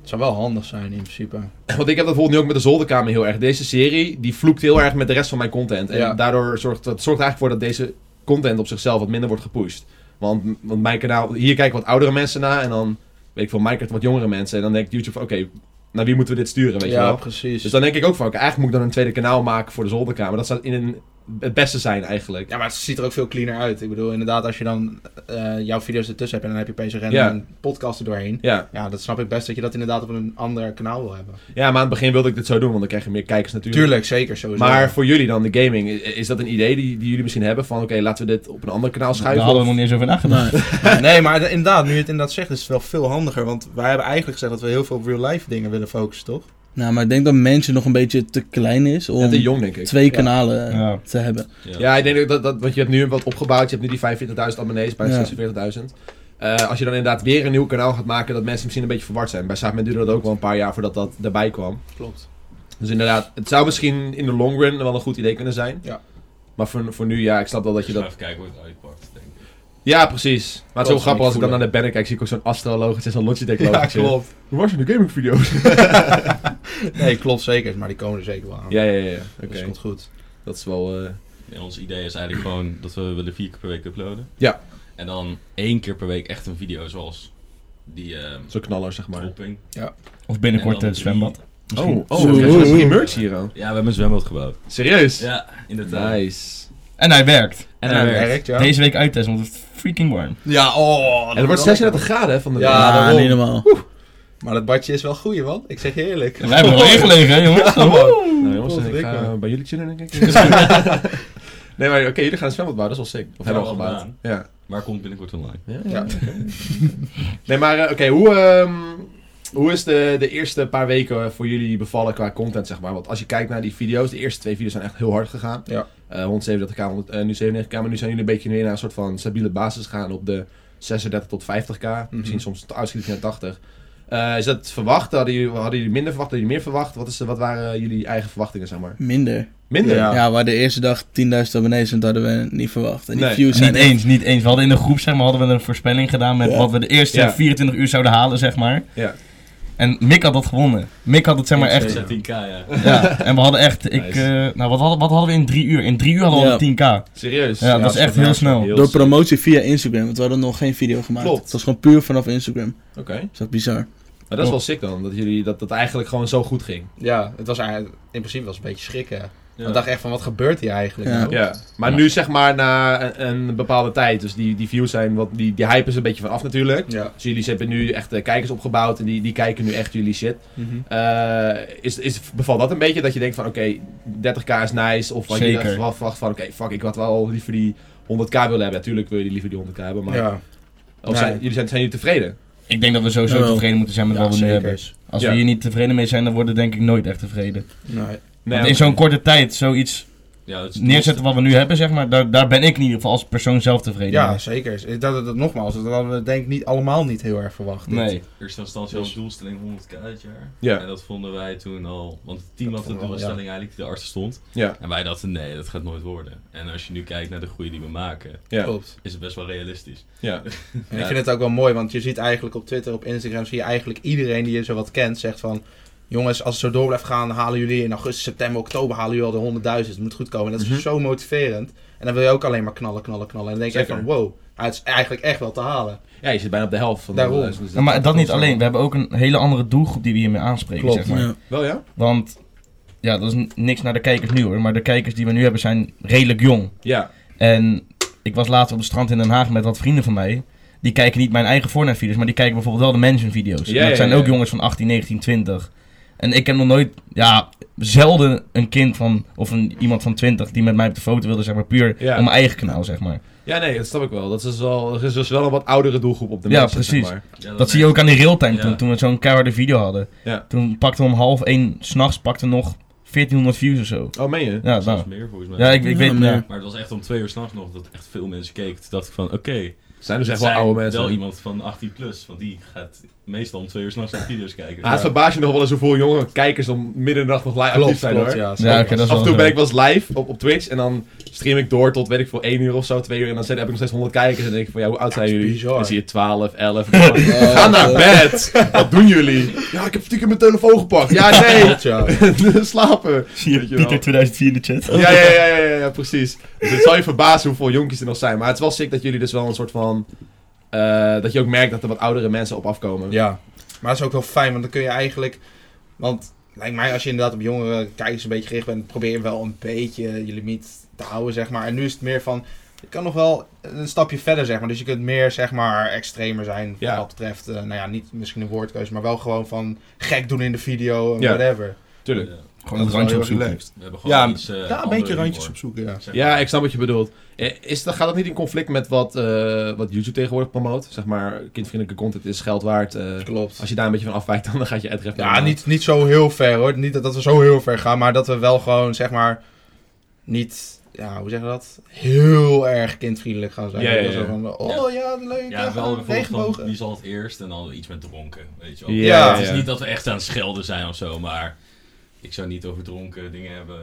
Het zou wel handig zijn in principe.
Want ik heb dat bijvoorbeeld nu ook met de zolderkamer heel erg. Deze serie, die vloekt heel erg met de rest van mijn content. En
Ja.
daardoor zorgt dat zorgt eigenlijk voor dat deze content op zichzelf wat minder wordt gepusht. Want, want mijn kanaal, hier kijken wat oudere mensen naar. En dan, weet ik veel, Minecraft wat jongere mensen. En dan denkt YouTube van, oké, naar wie moeten we dit sturen, weet je
ja,
wel?
precies.
Dus dan denk ik ook van, oké, eigenlijk moet ik dan een tweede kanaal maken voor de zolderkamer. Dat zou in een, het beste zijn eigenlijk.
Ja, maar het ziet er ook veel cleaner uit. Ik bedoel, inderdaad, als je dan eh, jouw video's ertussen hebt en dan heb je opeens een
Ja.
random podcast er doorheen.
Ja.
Ja, dat snap ik best dat je dat inderdaad op een ander kanaal wil hebben.
ja, maar aan het begin wilde ik dit zo doen, want dan krijg je meer kijkers natuurlijk.
Tuurlijk, zeker, sowieso.
Maar voor jullie dan, de gaming, i- is dat een idee die, die jullie misschien hebben? Van oké, laten we dit op een ander kanaal
Daar
schuiven?
hadden we
of-
nog niet eens over nagedacht.
Nee.
nee, maar de- inderdaad, nu je het inderdaad zegt, is het wel veel handiger. Want wij hebben eigenlijk gezegd dat we heel veel op real-life dingen willen focussen, toch?
Nou, maar ik denk dat mensen nog een beetje te klein is om
Ja, te jong, denk ik.
twee kanalen eh,
Ja.
te hebben.
Ja, ik denk dat, dat want je hebt nu wat opgebouwd. Je hebt nu die 45.000 abonnees, bijna
Ja.
46.000. Eh, als je dan inderdaad weer een nieuw kanaal gaat maken, dat mensen misschien een beetje verward zijn. Bij Samen duurde dat ook wel een paar jaar voordat dat erbij kwam.
Klopt.
Dus inderdaad, het zou misschien in de long run wel een goed idee kunnen zijn.
Ja.
Maar voor, voor nu, ja, ik snap wel dat je dat...
Dus even kijken hoe het uitpakt, denk ik.
Ja, precies. Maar het is
Klopt,
heel grappig als ik dan
voelen.
naar de banner kijk, zie ik ook zo'n astroloog en zo'n Logitech
Ja,
logotje.
klopt.
Hoe was je de gaming video's?
<laughs> Nee, klopt zeker. Maar die komen er zeker wel aan.
Ja, ja, ja. ja. Oké,
Dus dat komt goed.
dat is wel... eh,
En ons idee is eigenlijk gewoon dat we willen vier keer per week uploaden.
Ja.
En dan één keer per week echt een video zoals die ehm
zo'n knaller, zeg maar.
dropping.
Of binnenkort
En dan
het zwembad.
Oh, oh,
Zo,
we krijgen
oeh,
zo'n
oeh.
merch hier al.
Ja, we hebben een zwembad gebouwd.
Serieus?
Ja, inderdaad.
Nice.
En hij werkt.
En hij werkt.
ja.
Deze week uittesten, want het is freaking warm.
Ja, oh.
En het wordt 36 graden hè, van de
Ja,
week.
Ah,
daarom.
niet normaal.
Maar dat badje is wel goed, man. Ik zeg je eerlijk.
En wij hebben er wel ingelegen, hè, jongens.
Nou jongens,
Volgende
ik
week
ga
wel.
bij jullie chillen denk ik.
<laughs>
nee, maar oké, jullie gaan een zwembad bouwen, dat is wel sick. Of hebben
Hebben we
we al
al
gebouwd. Ja.
Maar komt binnenkort online.
Ja, ja.
Ja.
<laughs> Nee, maar eh, oké, hoe, ehm, hoe is de, de eerste paar weken voor jullie bevallen qua content, zeg maar? Want als je kijkt naar die video's, de eerste twee video's zijn echt heel hard gegaan.
Ja.
Eh, 137k, 100, eh, nu 97k, maar nu zijn jullie een beetje weer naar een soort van stabiele basis gegaan op de 36 tot 50k.
Mhm.
Misschien soms uitschieten naar 80. Eh, is dat verwacht? Hadden jullie, hadden jullie minder verwacht? Hadden jullie meer verwacht? Wat, is, de- wat waren jullie eigen verwachtingen, zeg maar?
Minder.
Minder?
Ja.
Ja, waar de eerste dag 10.000 abonnees en dat hadden we niet verwacht. En die
Nee.
views zijn
Niet
echt-
eens, niet eens. We hadden in de groep, zeg maar, hadden we een voorspelling gedaan met
Ja.
wat we de eerste
Ja.
24 uur zouden halen, zeg maar.
Ja.
En Mick had dat gewonnen. Mick had het, zeg maar,
Eens
echt...
Ja.
10k, ja.
Ja, en we hadden echt, ik,
Nice.
eh, nou wat hadden, wat hadden we in drie uur? In drie uur hadden we
Ja.
al 10k. Ja,
Serieus?
dat is echt heel snel.
Heel
Door
sick.
promotie via Instagram, want we hadden nog geen video gemaakt.
Klopt.
Het was gewoon puur vanaf Instagram.
Oké.
Dat is echt bizar.
Maar dat is wel
Oh.
sick dan, dat jullie dat, dat eigenlijk gewoon zo goed ging.
Ja, het was eigenlijk... In principe was het een beetje schrikken.
Ja.
Ik dacht echt van, wat gebeurt hier eigenlijk?
Ja.
nou?
Ja. Maar nu zeg maar na een, een bepaalde tijd, dus die, die views zijn, wat, die, die hype is een beetje van af natuurlijk.
Ja.
Dus jullie hebben nu echt eh, kijkers opgebouwd en die, die kijken nu echt jullie shit.
Mhm.
Eh, is, is, bevalt dat een beetje dat je denkt van oké, 30k is nice of wat je
Zeker.
echt verwacht verwacht van oké, fuck ik had wel liever die 100k willen hebben. Natuurlijk wil je die liever die 100k hebben, maar
Ja,
of zijn,
Nee.
jullie zijn, zijn jullie tevreden?
Ik denk dat we sowieso
Jawel.
tevreden moeten zijn met
ja
wat we nu hebben.
zeker.
Als
Ja.
we hier niet tevreden mee zijn, dan worden we denk ik nooit echt tevreden.
Nee.
Want in zo'n korte tijd zoiets
Ja, het is-
neerzetten wat we nu hebben, zeg maar, daar, daar ben ik in ieder geval als persoon zelf tevreden
Ja,
mee.
zeker. Dat, dat, dat nogmaals, dat hadden we denk ik niet allemaal niet heel erg verwacht. dit.
Nee.
In eerste instantie
Dus-
als doelstelling 100k dit jaar.
Ja.
En dat vonden wij toen al, want het team
Dat
had de
vonden we al,
doelstelling eigenlijk die erachter stond.
Ja.
En wij dachten, nee, dat gaat nooit worden. En als je nu kijkt naar de groei die we maken,
Ja.
Klopt.
is het best wel realistisch.
Ja.
En
Ja.
ik vind het ook wel mooi, want je ziet eigenlijk op Twitter, op Instagram, zie je eigenlijk iedereen die je zowat kent, zegt van... jongens, als het zo door blijft gaan, halen jullie in augustus, september, oktober halen jullie al de 100.000. Het moet goed komen. En dat is
Mhm.
zo motiverend. En dan wil je ook alleen maar knallen, knallen, knallen. En dan denk je
Zeker.
van, wow, ah, het is eigenlijk echt wel te halen.
Ja, je zit bijna op de helft van
Daarom.
de dus
Ja, maar dat
klopt
niet
wel.
alleen. We hebben ook een hele andere doelgroep die we hiermee aanspreken,
Klopt.
zeg maar.
Ja.
Wel ja?
Want, ja, dat is n- niks naar de kijkers nu hoor. Maar de kijkers die we nu hebben zijn redelijk jong.
Ja.
En ik was laatst op het strand in Den Haag met wat vrienden van mij. Die kijken niet mijn eigen Fortnite-video's, maar die kijken bijvoorbeeld wel de Mansion-video's.
Ja,
En
ja,
dat zijn
ja,
ook
ja.
jongens van 18, 19, 20. En ik heb nog nooit, ja, zelden een kind van, of een, iemand van 20 die met mij op de foto wilde, zeg maar, puur
Ja.
om mijn eigen kanaal, zeg maar.
Ja, nee, dat snap ik wel. Dat is wel, er is dus wel een wat oudere doelgroep op de
Ja,
mensen,
precies.
Zeg maar.
Dat zie je ook aan die realtime
Ja.
toen, toen we zo'n keiharde video hadden.
Ja.
Toen pakte om half één s'nachts, pakte nog 1400 views of zo.
Oh, meen je?
Ja,
Dat is
nou.
meer volgens mij.
Ja, ik, ik
Ja,
weet
maar-
ja.
Maar het was echt om twee uur s'nachts nog dat echt veel mensen keken. Toen dacht ik van, oké,
Zijn dus echt
het
wel
zijn
oude mensen.
wel iemand van 18 plus. Want die gaat meestal om twee uur s'nachts naar video's kijken.
Ah, het verbaast je nog wel eens hoeveel jonge kijkers dan midden in de nacht nog live actief zijn hoor.
ja.
Ja, oké, dat is
Af en toe
wel
ben
zo.
ik wel eens live op, op Twitch en dan stream ik door tot weet ik veel 1 uur of zo, 2 uur. En dan zet- heb ik nog steeds 100 kijkers en dan denk ik van ja, hoe oud zijn
is
jullie?
bizar.
Dan zie je 12, <laughs> 11. Ga naar bed! Wat doen jullie? Ja, ik heb stiekem mijn telefoon gepakt. Ja, <laughs> nee!
Klopt, ja.
Slapen!
Zie
Weet je wel.
2004 in de chat.
Ja, ja, ja, ja, ja, ja, precies. Dus het zal je verbazen hoeveel jonkies er nog zijn. Maar het is wel sick dat jullie dus wel een soort van... eh, dat je ook merkt dat er wat oudere mensen op afkomen.
Ja, maar dat is ook wel fijn, want dan kun je eigenlijk. Want lijkt mij, als je inderdaad op jongere kijkers een beetje gericht bent, probeer je wel een beetje je limiet te houden, zeg maar. En nu is het meer van. Je kan nog wel een stapje verder, zeg maar. Dus je kunt meer, zeg maar, extremer zijn. Wat
Ja.
dat betreft, eh, nou ja, niet misschien een woordkeuze, maar wel gewoon van gek doen in de video en
Ja.
whatever.
tuurlijk.
Gewoon
Dat
een
is wel
randje
heel
op
erg leuk.
zoek.
We hebben gewoon
Ja,
iets, eh,
Ja, een
andere
beetje randjes
humor.
opzoeken, ja.
Zeg
Ja,
maar.
ik snap wat je bedoelt. Eh, Is, dat- gaat dat niet in conflict met wat, eh, wat YouTube tegenwoordig promoot? Zeg maar, kindvriendelijke content is geld waard. eh,
Klopt.
als je daar een beetje van afwijkt, <laughs> dan gaat je adref
Ja, niet, niet zo heel ver hoor. Niet dat, dat we zo heel ver gaan, maar dat we wel gewoon, zeg maar, niet, ja, hoe zeg je dat? Heel erg kindvriendelijk gaan zijn.
Ja, ja,
Dat is
ja.
wel van, oh ja, leuk. Ja,
Ja, wel
wel
bijvoorbeeld van
regenbogen.
wie zal het eerst en dan iets met dronken, weet je wel.
Ja,
Ja.
Het is
ja.
niet dat we echt aan het schelden zijn of zo, maar ik zou niet over dronken dingen hebben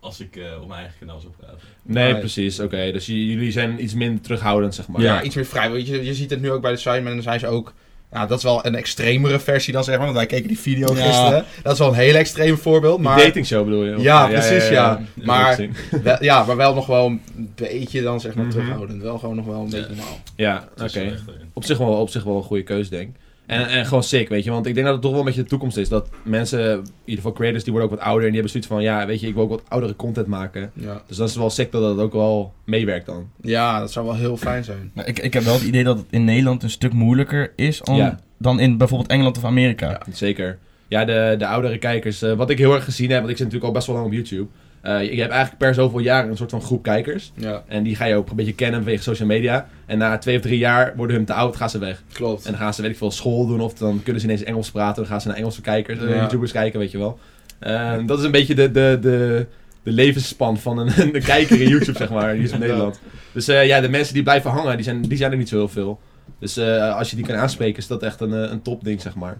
als ik eh, op mijn eigen kanaal zou praten.
Nee,
Nee.
precies. Oké, dus j- jullie zijn iets minder terughoudend, zeg maar.
Maar ja. iets meer vrij. want Je, je ziet het nu ook bij de Simon en dan zijn ze ook. Nou, dat is wel een extremere versie dan zeg maar, want wij keken die video
Ja.
gisteren. Dat is wel een heel extreem voorbeeld,
Die
maar...
datingshow bedoel je? Of-
Ja, precies, ja.
Ja,
Maar-
dat zie ik.
Wel- ja, maar wel nog wel een beetje dan zeg maar
Mhm.
terughoudend. Wel gewoon nog wel een
Ja.
beetje normaal.
Ja,
Het
oké.
is wel echt, eh,
Op zich wel, op zich wel een goede keuze, denk ik. En, en gewoon sick, weet je. Want ik denk dat het toch wel een beetje de toekomst is. Dat mensen, in ieder geval creators, die worden ook wat ouder. En die hebben zoiets van, ja, weet je, ik wil ook wat oudere content maken.
Ja.
Dus dat is wel sick dat dat ook wel meewerkt dan.
ja, dat zou wel heel fijn zijn.
Maar Nou, ik, ik heb wel het idee dat het in Nederland een stuk moeilijker is dan,
Ja.
dan in bijvoorbeeld Engeland of Amerika.
Ja, Zeker. Ja, de, de oudere kijkers. eh, wat ik heel erg gezien heb, want ik zit natuurlijk al best wel lang op YouTube. Eh, je, je hebt eigenlijk per zoveel jaar een soort van groep kijkers.
Ja,
En die ga je ook een beetje kennen vanwege social media. En na twee of drie jaar worden hun te oud, gaan ze weg.
klopt.
En dan gaan ze, weet ik veel, school doen. Of dan kunnen ze ineens Engels praten. Dan gaan ze naar Engelse kijkers, eh,
Ja.
YouTubers kijken, weet je wel. Eh, dat is een beetje de, de, de, de levensspan van een, <laughs> de kijker in YouTube, zeg maar. Hier is in Nederland. Dus eh, ja, de mensen die blijven hangen, die zijn, die zijn er niet zo heel veel. Dus eh, als je die kan aanspreken, is dat echt een, eh, een topding, zeg maar.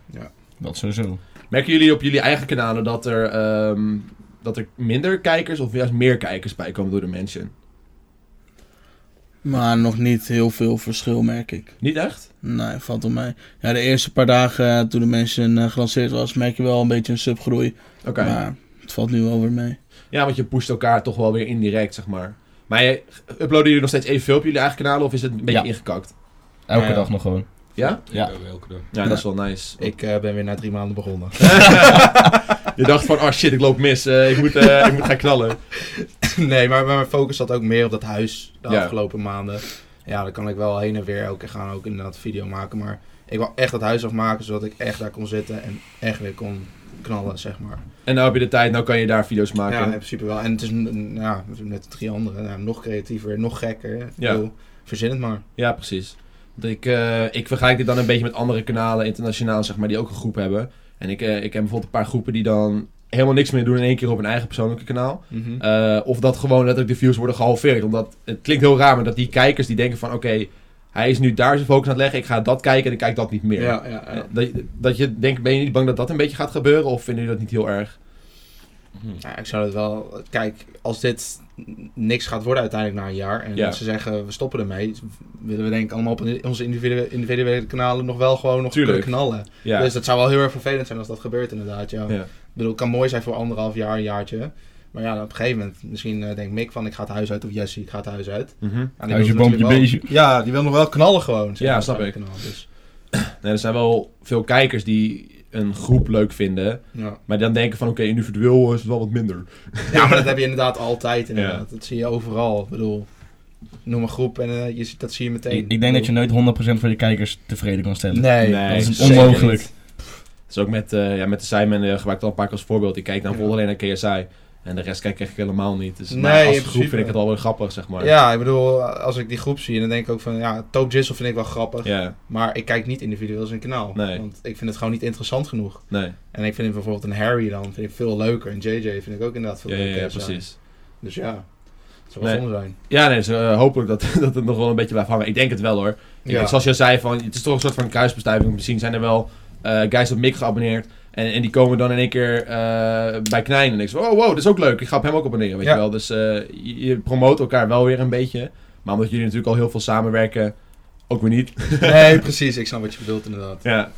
Dat sowieso.
Merken jullie op jullie eigen kanalen dat er, ehm, dat er minder kijkers of juist meer kijkers bij komen door de mensen?
Maar nog niet heel veel verschil, merk ik.
Niet echt?
Nee, valt op mij. Ja, de eerste paar dagen eh, toen de mensen eh, gelanceerd was, merk je wel een beetje een subgroei.
Oké.
Maar het valt nu wel weer mee.
Ja, want je pusht elkaar toch wel weer indirect, zeg maar. Maar je, uploaden jullie nog steeds evenveel op jullie eigen kanalen of is het een beetje
Ja.
ingekakt?
Elke
Ja, ja.
dag nog gewoon.
Ja?
ik
Ja.
ook elke dag.
Ja, dat is wel nice.
Ik eh, ben weer na drie maanden
<laughs>
begonnen.
je dacht van, oh shit, ik loop mis. eh, ik, moet, eh, ik moet gaan knallen.
Nee, maar maar mijn focus zat ook meer op dat huis de
Ja.
afgelopen maanden. Ja, dan kan ik wel heen en weer elke keer gaan ook inderdaad video maken. Maar ik wil echt dat huis afmaken, zodat ik echt daar kon zitten en echt weer kon knallen, zeg maar.
En nou heb je de tijd, nou kan je daar video's maken.
Ja, in principe wel. En het is n- n- ja, met drie anderen ja, nog creatiever, nog gekker. Ik
Ja.
bedoel, Verzin het maar.
Ja, precies. Want ik, eh, ik vergelijk dit dan een beetje met andere kanalen internationaal, zeg maar, die ook een groep hebben. En ik, eh, ik heb bijvoorbeeld een paar groepen die dan helemaal niks meer doen in één keer op hun eigen persoonlijke kanaal. Eh, of dat gewoon letterlijk de views worden gehalveerd. Omdat het klinkt heel raar, maar dat die kijkers die denken van oké, hij is nu daar zijn focus aan het leggen, ik ga dat kijken en ik kijk dat niet meer.
Ja, ja,
Eh,
ja.
Dat, dat je denkt, ben je niet bang dat dat een beetje gaat gebeuren of vinden jullie dat niet heel erg?
Hm.
Ja, Nou, ik zou het wel... Kijk, als dit n- niks gaat worden uiteindelijk na een jaar... en
Ja.
als ze zeggen, we stoppen ermee... willen we denk ik allemaal op onze individuele, individuele kanalen... nog wel gewoon nog
Tuurlijk.
kunnen knallen.
Ja.
Dus dat zou wel heel erg vervelend zijn als dat gebeurt inderdaad, ja.
Ja.
Ik bedoel, het kan mooi zijn voor anderhalf jaar, een jaartje... Maar ja, op een gegeven moment, misschien eh, denkt Mick van ik ga het huis uit of Jesse, ik ga het huis uit.
Mhm.
Ja, die
Huisje,
wil natuurlijk
boompje,
wel- Ja, die wil nog wel knallen gewoon. zeg
Ja,
maar,
snap
gewoon
ik.
knallen, dus,
Nee, er zijn wel veel kijkers die een groep leuk vinden.
ja.
Maar dan denken van oké, individueel is het wel wat minder.
ja, maar dat heb je inderdaad altijd inderdaad. Dat zie je overal. Ik bedoel, noem een groep en eh, je ziet, dat zie je meteen.
Ik, ik denk dat je nooit 100% van je kijkers tevreden kan stellen.
Nee,
Nee,
dat is
zeker
onmogelijk.
niet. Dus ook met, eh, ja, met de Simon eh, gebruik ik al een paar keer als voorbeeld. Ik kijk dan
Ja.
vooral alleen naar KSI. En de rest kijk ik echt helemaal niet. Dus
Nee,
maar als
in
groep
principe.
vind ik het wel weer grappig, zeg maar.
Ja, ik bedoel, als ik die groep zie, dan denk ik ook van, ja, Top Jizzle vind ik wel grappig.
Ja,
Maar ik kijk niet individueel zijn kanaal.
Nee.
Want ik vind het gewoon niet interessant genoeg.
nee.
En ik vind bijvoorbeeld een Harry dan vind ik veel leuker. En JJ vind ik ook inderdaad veel
Ja, ja,
leuker.
ja,
en zo.
precies.
Dus ja, het zou wel
Nee.
zonde zijn.
Ja, nee, dus, eh, hopelijk dat, <laughs> dat het nog wel een beetje blijft hangen. Ik denk het wel hoor. Ik
Ja.
denk, zoals je al zei, van, het is toch een soort van kruisbestuiving. Misschien zijn er wel eh, guys op Mick geabonneerd. En, en die komen dan in één keer eh, bij Knijn. En ik zeg, oh wow, dat is ook leuk. Ik ga op hem ook abonneren, weet
Ja.
je wel. Dus eh, je, je promoot elkaar wel weer een beetje. Maar omdat jullie natuurlijk al heel veel samenwerken, ook weer niet.
<laughs> Nee, precies. Ik snap wat je bedoelt inderdaad.
Ja.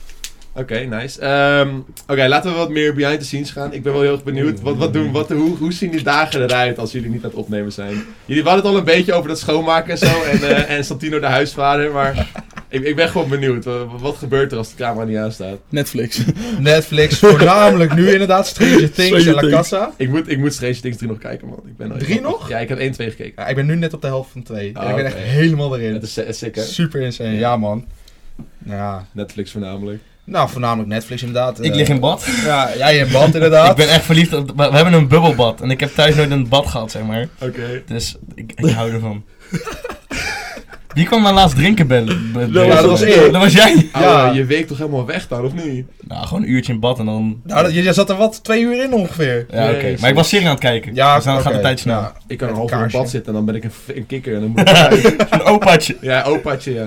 Oké, nice. Ehm, Oké, laten we wat meer behind the scenes gaan. Ik ben wel heel erg benieuwd. Wat, wat doen, wat, hoe, hoe zien die dagen eruit als jullie niet aan het opnemen zijn? Jullie hadden het al een beetje over dat schoonmaken en zo. En,
<laughs>
eh, en Santino de huisvader. Maar ik, ik ben gewoon benieuwd. Wa- Wat, gebeurt er als de camera niet aanstaat?
Netflix. <laughs>
Netflix, voornamelijk nu inderdaad. Stranger Things
Stranger
en La
Things.
Casa.
Ik moet, ik moet Stranger Things 3 nog kijken, man. Ik ben al-
Drie nog?
Ja, ik heb 1, 2 gekeken.
Ja, ik ben nu net op de helft van twee.
Ah,
en ik ben
oké.
echt helemaal
Het
erin.
is, eh, sick, hè?
Super insane. Ja, man. Ja.
Netflix voornamelijk.
Nou, voornamelijk Netflix inderdaad.
Ik
Eh,
lig in bad.
Ja, jij in band inderdaad.
<laughs> Ik ben echt verliefd op... We hebben een bubbelbad. En ik heb thuis nooit een bad gehad, zeg maar.
Oké.
Dus ik, ik hou ervan. Wie kwam mij laatst drinken bellen? Be-
Dat
was- dat was ik.
Dat was jij.
Ja.
Ouwe, je week toch helemaal weg dan, of niet?
Nou, gewoon een uurtje in bad en dan...
Nou, dat, jij zat er wat twee uur in ongeveer.
Ja, oké.
Jezus.
Maar ik was serie aan het kijken.
Ja,
dus dan gaat
oké.
de tijd snel.
Ja.
Ik kan een half
Met
uur in
kaarsje.
bad zitten en dan ben ik een, f- een kikker.
<laughs>
En dan moet ik eruit.
<laughs> Een opaatje.
Ja, opaatje, ja.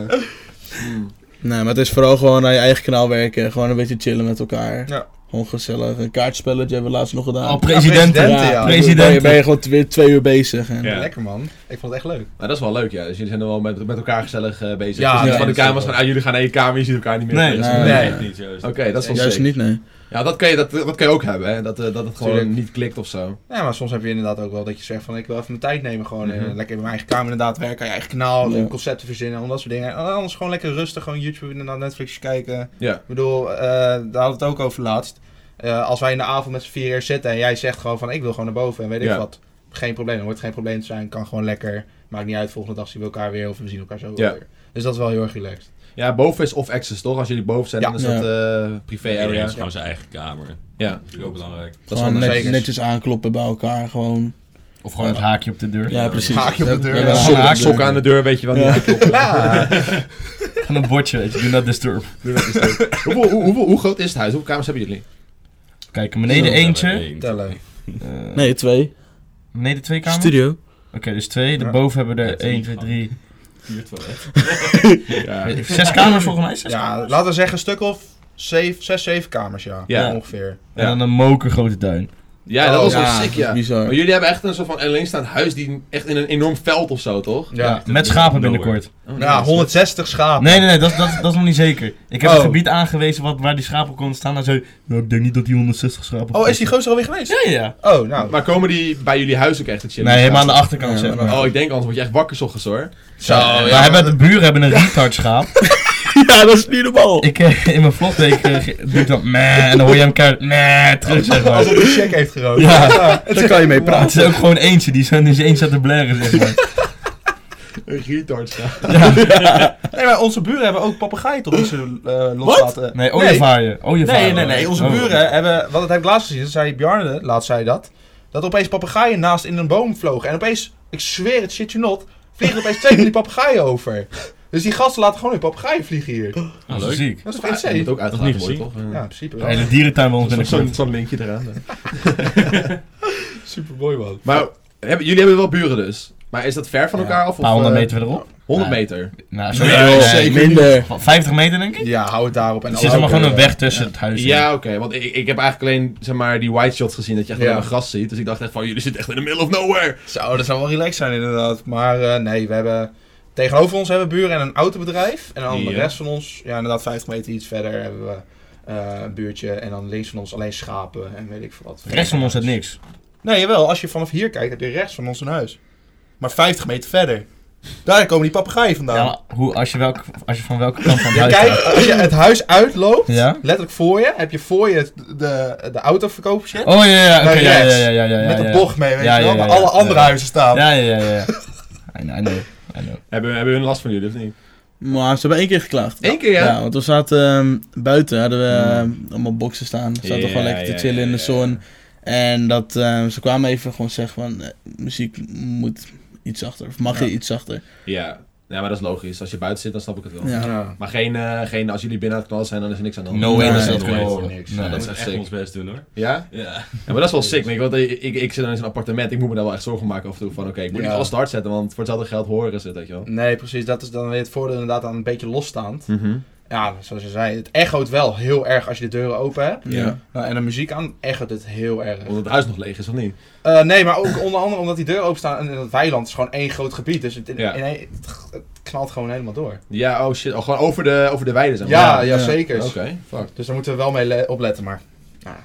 Hmm.
Nee, maar het is vooral gewoon aan je eigen kanaal werken. Gewoon een beetje chillen met elkaar.
Ja.
Gewoon gezellig. Een kaartspelletje hebben we laatst nog gedaan.
Al presidenten.
presidenten, ja.
Ben je,
Presidenten.
ben je gewoon weer twee uur bezig. En...
Ja.
Lekker man. Ik vond het echt leuk.
Maar dat is wel leuk, ja. Dus jullie zijn er wel met, met elkaar gezellig eh, bezig.
Ja,
Ja, dus niet
ja,
van de
dat is
camera's
wel.
van, ah, jullie gaan naar je kamer, je ziet elkaar niet meer.
Nee,
Dat is-
nee.
Nee,
Ja.
niet juist.
Oké, dat is wel
Juist
sick.
niet, nee.
Ja, dat kan, je, dat, dat kan je ook hebben, hè. Dat, eh, dat het gewoon
Tuurlijk.
niet klikt of zo.
Ja, maar soms heb je inderdaad ook wel dat je zegt van ik wil even mijn tijd nemen gewoon.
Mhm.
En lekker in mijn eigen kamer inderdaad werken, aan je eigen kanaal,
Ja.
concepten verzinnen, al dat soort dingen. En anders gewoon lekker rustig, gewoon YouTube inderdaad, Netflix kijken.
Ja.
Ik bedoel, eh, daar hadden we het ook over laatst. Eh, als wij in de avond met z'n vier hier zitten en jij zegt gewoon van ik wil gewoon naar boven en weet
Ja.
ik wat. Geen probleem, er hoort geen probleem te zijn. Kan gewoon lekker. Maakt niet uit, volgende dag zien we elkaar weer of we zien elkaar zo
Ja.
weer. Dus dat is wel heel erg relaxed.
Ja, boven is off-access, toch? Als jullie boven zijn,
Ja.
dan is
Ja.
dat eh privé
Iedereen
area.
heeft gewoon zijn eigen kamer.
Ja.
Dat is ook belangrijk.
Dat is wel
gewoon
nice.
net-
zeker.
netjes aankloppen bij elkaar. Gewoon.
Of gewoon het haakje op de deur.
Ja, precies.
Haakje op de deur.
Ja,
Ja,
ja.
sokken,
haak-
sokken aan de deur, weet je wel.
Ja.
niet aankloppen.
Van een bordje, weet je. Do not disturb.
Doe dat eens leuk. <laughs> hoeveel, hoe, hoeveel, hoe groot is het huis? Hoeveel kamers hebben jullie?
Kijk, beneden
Zo,
eentje.
daarbij één.
Tellen.
eh,
Nee, twee.
Beneden twee kamers?
Studio.
Oké, dus twee.
Ja.
Daarboven hebben we
Ja,
er
drie
1, 2, 3.
Vier toiletten.
Ja. Ja.
Eh, Zes kamers volgens mij? Zes
Ja,
kamers?
laten we zeggen een stuk of zeven, zes, zeven kamers, ja.
Ja.
Ongeveer.
En dan een mokergrote tuin.
dat
Oh,
was wel
ja,
sick,
dat is
ja.
bizar.
Maar jullie hebben echt een soort van alleenstaand huis die echt in een enorm veld of zo, toch?
Ja,
Ja, met schapen binnenkort.
Oh,
ja
nice.
160 schapen.
Nee, nee, nee, dat, dat, dat is nog niet zeker. Ik heb
Oh.
het gebied aangewezen wat, waar die schapen konden staan. Nou, zo, nou, ik denk niet dat die 160 schapen.
Oh, is die gozer alweer geweest?
Ja, ja.
Oh, nou.
Maar komen die bij jullie huis ook echt te chillen?
Nee, helemaal aan de
Ja,
achterkant, zeg maar.
Oh, ik denk anders word je echt wakker 's ochtends hoor.
Zo,
Ja, wij hebben, de buren hebben een retard schaap.
ja, dat is niet normaal.
Ik, eh, in mijn vlog deed ik, eh, ge- doe ik dat meh, en dan hoor je hem keihard meh terug, zeg maar.
Alsof hij een check heeft <laughs> gerookt.
Ja.
Daar kan je mee
Het
praten.
is ook gewoon eentje, die is in zijn eentje aan te blaren, zeg maar.
Een retard schaap.
Nee, maar onze buren hebben ook papegaaien toch niet zo eh, loslaten.
Nee, oh, ooievaaien. ooievaaien.
Nee, nee, nee. Onze
Oh.
buren hebben... Wat dat heb ik laatst gezien. Dat zei Bjarne, laatst zei dat. Dat opeens papegaaien naast in een boom vlogen. En opeens, ik zweer het, shit you not, vliegen er opeens twee van die papegaaien over. Dus die gasten laten gewoon hun papegaaien vliegen hier.
Dat
Ah,
is
leuk.
Oh, ziek.
Dat is toch
Dat moet
insane?
ook uitgelaten
Nog
worden,
niet
toch?
Ja, in principe
En
wel.
de dierentuin bij ons
Zo'n
binnenkort.
zo'n linkje eraan. hè.
Supermooi man.
Maar hebben, jullie hebben wel buren dus. Maar is dat ver van
Ja.
elkaar af?
Een paar honderd
eh,
meter verderop.
100
Nee.
meter.
Nou, zo
Nee,
eh,
joh,
eh,
zeker
min-
Minder.
50 meter denk ik?
Ja, hou het daarop. En
Er
al-
zit maar
ook,
gewoon een
eh,
weg tussen het huis. in.
Ja, oké. want ik, ik heb eigenlijk alleen zeg maar, die white shots gezien dat je echt
Ja.
alleen maar gras ziet. Dus ik dacht echt van, jullie zitten echt in the middle of nowhere.
Zo, dat zou wel relaxed zijn inderdaad. Maar eh, nee, we hebben... Tegenover ons hebben buren en een autobedrijf. En dan de
Ja.
rest van ons, ja inderdaad 50 meter iets verder, hebben we eh, een buurtje. En dan links van ons alleen schapen en weet ik veel wat.
Rechts van ons zit niks.
Nee, jawel. Als je vanaf hier kijkt, heb je rechts van ons een huis. Maar 50 meter verder. Daar komen die papegaaien vandaan.
Ja, maar hoe, als, je welk, als je van welke kant van het
Ja,
huis
kijk,
gaat.
als je het huis uitloopt,
Ja?
letterlijk voor je, heb je voor je het- de, de autoverkoop shit.
Oh ja, ja, oké,
Naar
ja,
rechts.
ja, ja, ja, ja,
met
ja,
een
ja.
bocht mee, weet
Ja,
je
ja,
wel.
ja,
Waar
ja.
alle andere
Ja.
huizen staan.
Ja, ja, ja, ja. I know, I know, I know.
Hebben, hebben hun last van jullie of niet?
Maar ze hebben één keer geklaagd.
Eén keer,
Ja,
ja.
want we zaten ehm, buiten, hadden we ehm, allemaal boksen staan. Zaten
Ja,
gewoon lekker
ja,
te chillen in de
ja,
zon.
ja.
En dat, ehm, ze kwamen even gewoon zeggen van, eh, muziek moet iets zachter. Of mag je iets zachter.
Ja. Ja, maar dat is logisch. Als je buiten zit, dan snap ik het wel.
Ja.
Maar geen, eh, geen, als jullie binnen aan het knallen zijn, dan is er niks aan de hand.
No way
Nee,
dat ze dat
no
kunnen.
way.
horen.
Niks.
Nee.
Ja,
dat
dat is
is echt
sick.
ons best doen hoor.
Ja?
Ja.
Ja, maar dat is wel sick, weet je, want ik, ik, ik zit dan in zo'n appartement, ik moet me daar wel echt zorgen maken af en toe van, oké, ik moet
Ja.
niet alles te hard zetten, want voor hetzelfde geld horen ze het, weet je wel.
Nee, precies. Dat is dan weer het voordeel inderdaad aan een beetje losstaand.
Mhm.
Ja, zoals je zei, het echoot wel heel erg als je de deuren open hebt.
Ja.
Nou, en de muziek aan echoot het heel erg.
Omdat het huis nog leeg is, of niet?
Eh, nee, maar ook onder andere omdat die deuren open staan en dat weiland is gewoon één groot gebied. Dus het,
Ja.
in één- het- het knalt gewoon helemaal door.
Ja, oh shit, oh, gewoon over de, over de weide
Ja,
zijn
ja,
ja.
zeker.
Oké, fuck.
Dus daar moeten we wel mee le- opletten, maar... Ja.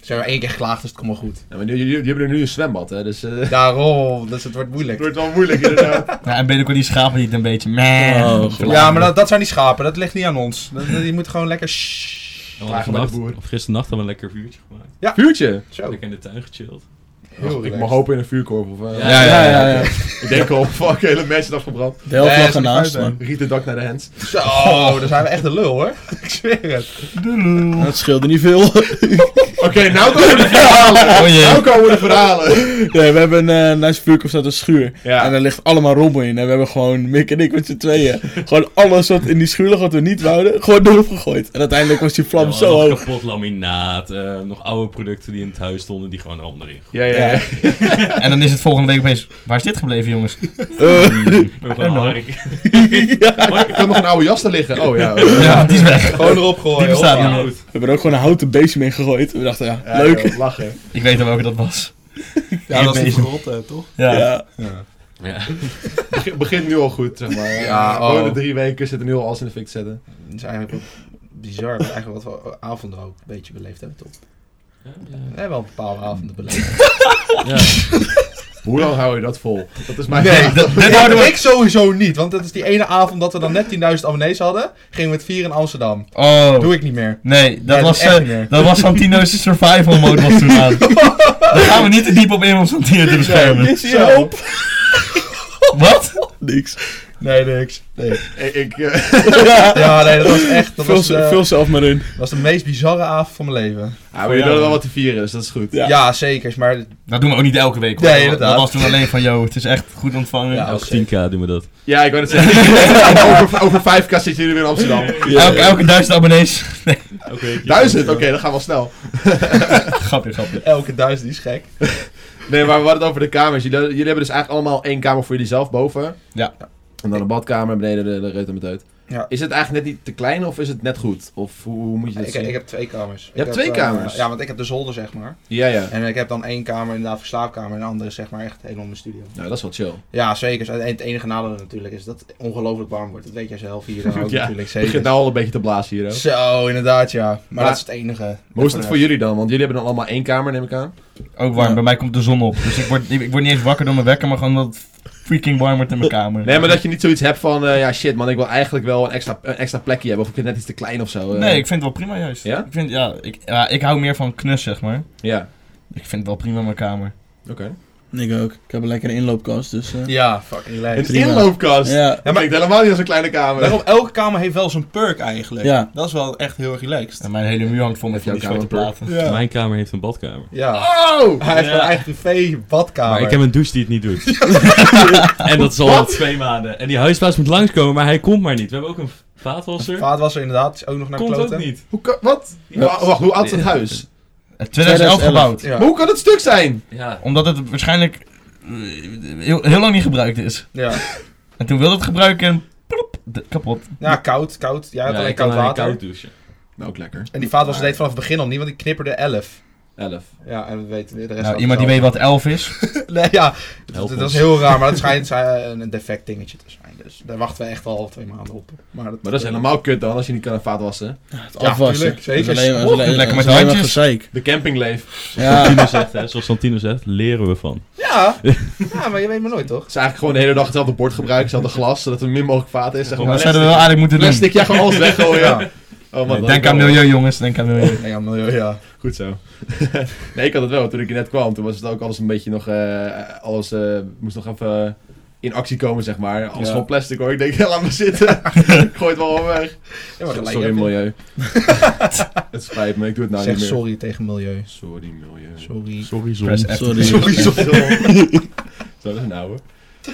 Ze hebben één keer geklaagd, dus het komt wel goed.
Ja, maar jullie, jullie hebben er nu een zwembad, hè, dus... <laughs> eh,
Daarom, dus het wordt moeilijk.
wordt wel moeilijk, inderdaad.
Ja, en ben ik ook die schapen niet een beetje. meh,
Oh,
verlaten.
Ja, maar dat, dat zijn die schapen, dat ligt niet aan ons. Dat- dat- Die moeten gewoon lekker shh.
Ja,
Vragen bij de boer.
Of gisternacht hebben we een lekker vuurtje gemaakt.
<laughs> Vuurtje!
Zo,
Lekker in de tuin gechilled.
heel
ik
relaxed.
mag hopen in een vuurkorf, of... eh,
Ja,
ja, ja, ja.
Ik denk al, <laughs> fuck, hele mensen afgebrand.
De helft
Nee,
lag
is niet
ernaast,
fijn,
man.
Riet de dak naar de hens.
Zo, daar zijn we echt de lul hoor. <laughs> Ik zweer het.
Dat scheelde niet
<laughs>
veel.
Oké, nou komen de
Oh,
verhalen!
jee.
nou komen de verhalen!
Nee, we hebben een uh, naast vuurkorf staat een schuur.
Ja.
En daar ligt allemaal rommel in. En we hebben gewoon, Mick en ik met z'n tweeën, gewoon alles wat in die schuur lag wat we niet wouden, gewoon erop gegooid. En uiteindelijk was die vlam
Ja, we
zo
hadden nog
hoog.
Kapot laminaat, eh, nog oude producten die in het huis stonden, die gewoon allemaal erin.
Ja, ja, ja.
En dan is het volgende week opeens. Waar is dit gebleven, jongens?
Eh,
We hebben
know.
Hark.
Ik heb nog een oude jas daar liggen. Oh ja.
Ja, die is weg.
Gewoon erop gooien.
Die bestaat
hoppa.
niet meer.
we hebben er ook gewoon een houten bezem in gegooid. We dachten, ja,
Ja,
leuk.
joh, lachen.
Ik weet al welke dat was.
Ja, dat is niet
Bezem.
verrot, eh, toch?
Ja.
Ja.
Ja.
Ja.
Begin- begint nu al goed, zeg maar.
Ja,
Gewoon
oh.
de drie weken zitten nu al alles in de fik te zetten.
Dat is eigenlijk ook bizar, maar eigenlijk wat we avonden ook een beetje beleefd hebben, toch? We hebben wel een bepaalde avonden beleefd.
Hoe lang hou je dat vol? Dat is mijn
Nee,
vraag.
Dat,
Dat
dit hoorden we.
ik sowieso niet, want dat is die ene avond dat we dan net 10.000 abonnees hadden, gingen we het vieren in Amsterdam.
Oh.
Doe ik niet meer.
Nee, dat
Nee,
was,
echt
eh,
niet meer.
dat was Santino's survival mode was toen
<laughs>
aan. Daar gaan we niet te diep op in om Santino te beschermen.
Is hier op?
Wat?
<laughs> Niks.
Nee, niks. Nee.
Ik, ik, eh,
Ja, nee, dat was
<laughs>
echt. Dat
Vul,
was,
ze-
eh,
vul zelf maar in.
dat was de meest bizarre avond van mijn leven.
ja, maar jullie hadden Ah, wel wat te vieren, dus dat is goed.
Ja.
Ja, zeker. Maar
Dat doen we ook niet elke week hoor.
Nee,
Dat-
inderdaad.
Dat was toen alleen van, yo, het is echt goed ontvangen.
Ja,
Elke
zeker.
10k doen we dat.
Ja, ik wou net zeggen. <laughs> over, over 5k zitten jullie weer in Amsterdam.
elke, elke duizend abonnees.
Elke week.
Duizend? Oké, dan gaan we wel snel.
grapje, grapje.
elke duizend is gek.
Nee, maar we hadden het over de kamers. Jullie, jullie hebben dus eigenlijk allemaal één kamer voor jullie zelf boven.
Ja.
En dan een badkamer, beneden de, de reut en met uit.
Ja.
Is het eigenlijk net niet te klein of is het net goed? Of hoe, hoe moet je dat
Ik,
zien?
ik heb twee kamers. Je
hebt twee kamers?
ja, want ik heb de zolder, zeg maar.
Ja, ja.
En ik heb dan één kamer inderdaad voor slaapkamer en de andere is zeg maar echt helemaal mijn studio.
Nou, dat is wel chill.
Ja, zeker. En het enige nadeel natuurlijk is dat het ongelooflijk warm wordt. Dat weet jij zelf hier dan ook
Ja,
natuurlijk.
Het
Zeker.
begint nou al een beetje te blazen hier, hè?
Zo, inderdaad, ja. Maar,
Maar-
dat is het enige.
Maar hoe is dat voor jullie dan? Want jullie hebben dan allemaal één kamer, neem ik aan.
Ook warm,
Ja.
bij mij komt de zon op. Dus ik word, ik, ik word niet eens wakker door mijn wekker, maar gewoon dat het freaking warm wordt in mijn kamer.
Nee, maar dat je niet zoiets hebt van, eh, ja shit man, ik wil eigenlijk wel een extra, een extra plekje hebben. Of ik vind het net iets te klein of zo. eh.
Nee, ik vind het wel prima juist.
Ja?
Ik, vind, ja, ik, ja, ik hou meer van knus, zeg maar.
Ja,
Ik vind het wel prima in mijn kamer.
oké.
Ik ook. Ik heb een lekkere inloopkast, dus... eh,
Ja, fucking leuk.
Prima.
inloopkast.
ja.
Dat klinkt helemaal niet als een kleine kamer.
Daarom, elke kamer heeft wel zijn perk eigenlijk.
Ja.
Dat is wel echt heel erg relaxed.
En mijn hele muur hangt vol met van
Heb
die
je
zwarte
ook kamer,
platen.
Ja.
Mijn kamer heeft een badkamer.
ja. <laughs>
Oh!
Hij heeft een eigen privé badkamer.
Maar ik heb een douche die het niet
<laughs>
doet. en dat is al twee maanden. En die huisbaas moet langskomen, maar hij komt maar niet. We hebben ook een vaatwasser.
Vaat was er inderdaad, is ook nog naar
Komt
kloten.
ook niet.
Hoe kan, wat? Wa- Wacht, hoe oud is het huis?
Eh, 2011 gebouwd.
Ja.
Maar hoe kan het stuk zijn?
Ja,
Omdat het waarschijnlijk eh, heel, heel lang niet gebruikt is.
ja.
En toen wilde het gebruiken en plop, de- kapot.
Ja, koud, koud. Ja,
Ja,
had alleen
ik
koud
kan alleen
water.
koud douchen.
Nou, ook lekker.
En die vaatwasser deed vanaf het begin al niet, want die knipperde 11.
11.
Ja, en we weten weer de rest
Nou,
van
iemand die
het
weet wat elf is.
zelf. Nee, ja, dat,
Help
dat
ons.
is heel raar, maar dat schijnt eh, een een defect dingetje te zijn. Dus daar wachten we echt al twee maanden op. Maar dat, eh,
Maar dat is helemaal kut dan, als je niet kan vaatwassen.
Het
Ja,
afwassen.
tuurlijk, zeker.
Dat is alleen, dat is
Doe het
alleen,
lekker
dat is
met
alleen maar
handjes.
gezeik.
De campingleef.
Ja.
Tino zegt, hè, zoals Santino zegt, leren we van.
Ja, ja, maar je weet maar nooit, toch?
Het is eigenlijk gewoon de hele dag hetzelfde bord gebruiken, hetzelfde glas, zodat er min mogelijk vaat is. Zeg
Ja,
maar,
dat zouden we wel eigenlijk moeten doen.
plastic, ja, gewoon alles weggooien.
Ja.
Oh,
Nee,
man,
denk aan milieu, jongens. Denk aan milieu.
Nee, ja, milieu, ja.
Goed zo. <laughs> nee, ik had het wel. Toen ik hier net kwam, toen was het ook alles een beetje nog... eh, alles eh, moest nog even eh, in actie komen, zeg maar. Alles
Ja.
van plastic, hoor. Ik denk, <laughs> ja, laat maar zitten. ik gooi het wel wel weg.
Ja, maar gelijk
sorry,
heb je.
<laughs> milieu. het spijt me, ik doe het nou
Zeg
niet meer.
sorry tegen milieu.
Sorry, milieu.
Sorry.
Sorry, zon.
Press F.
Sorry.
Sorry, sorry.
<laughs> Zo, dat is een oude.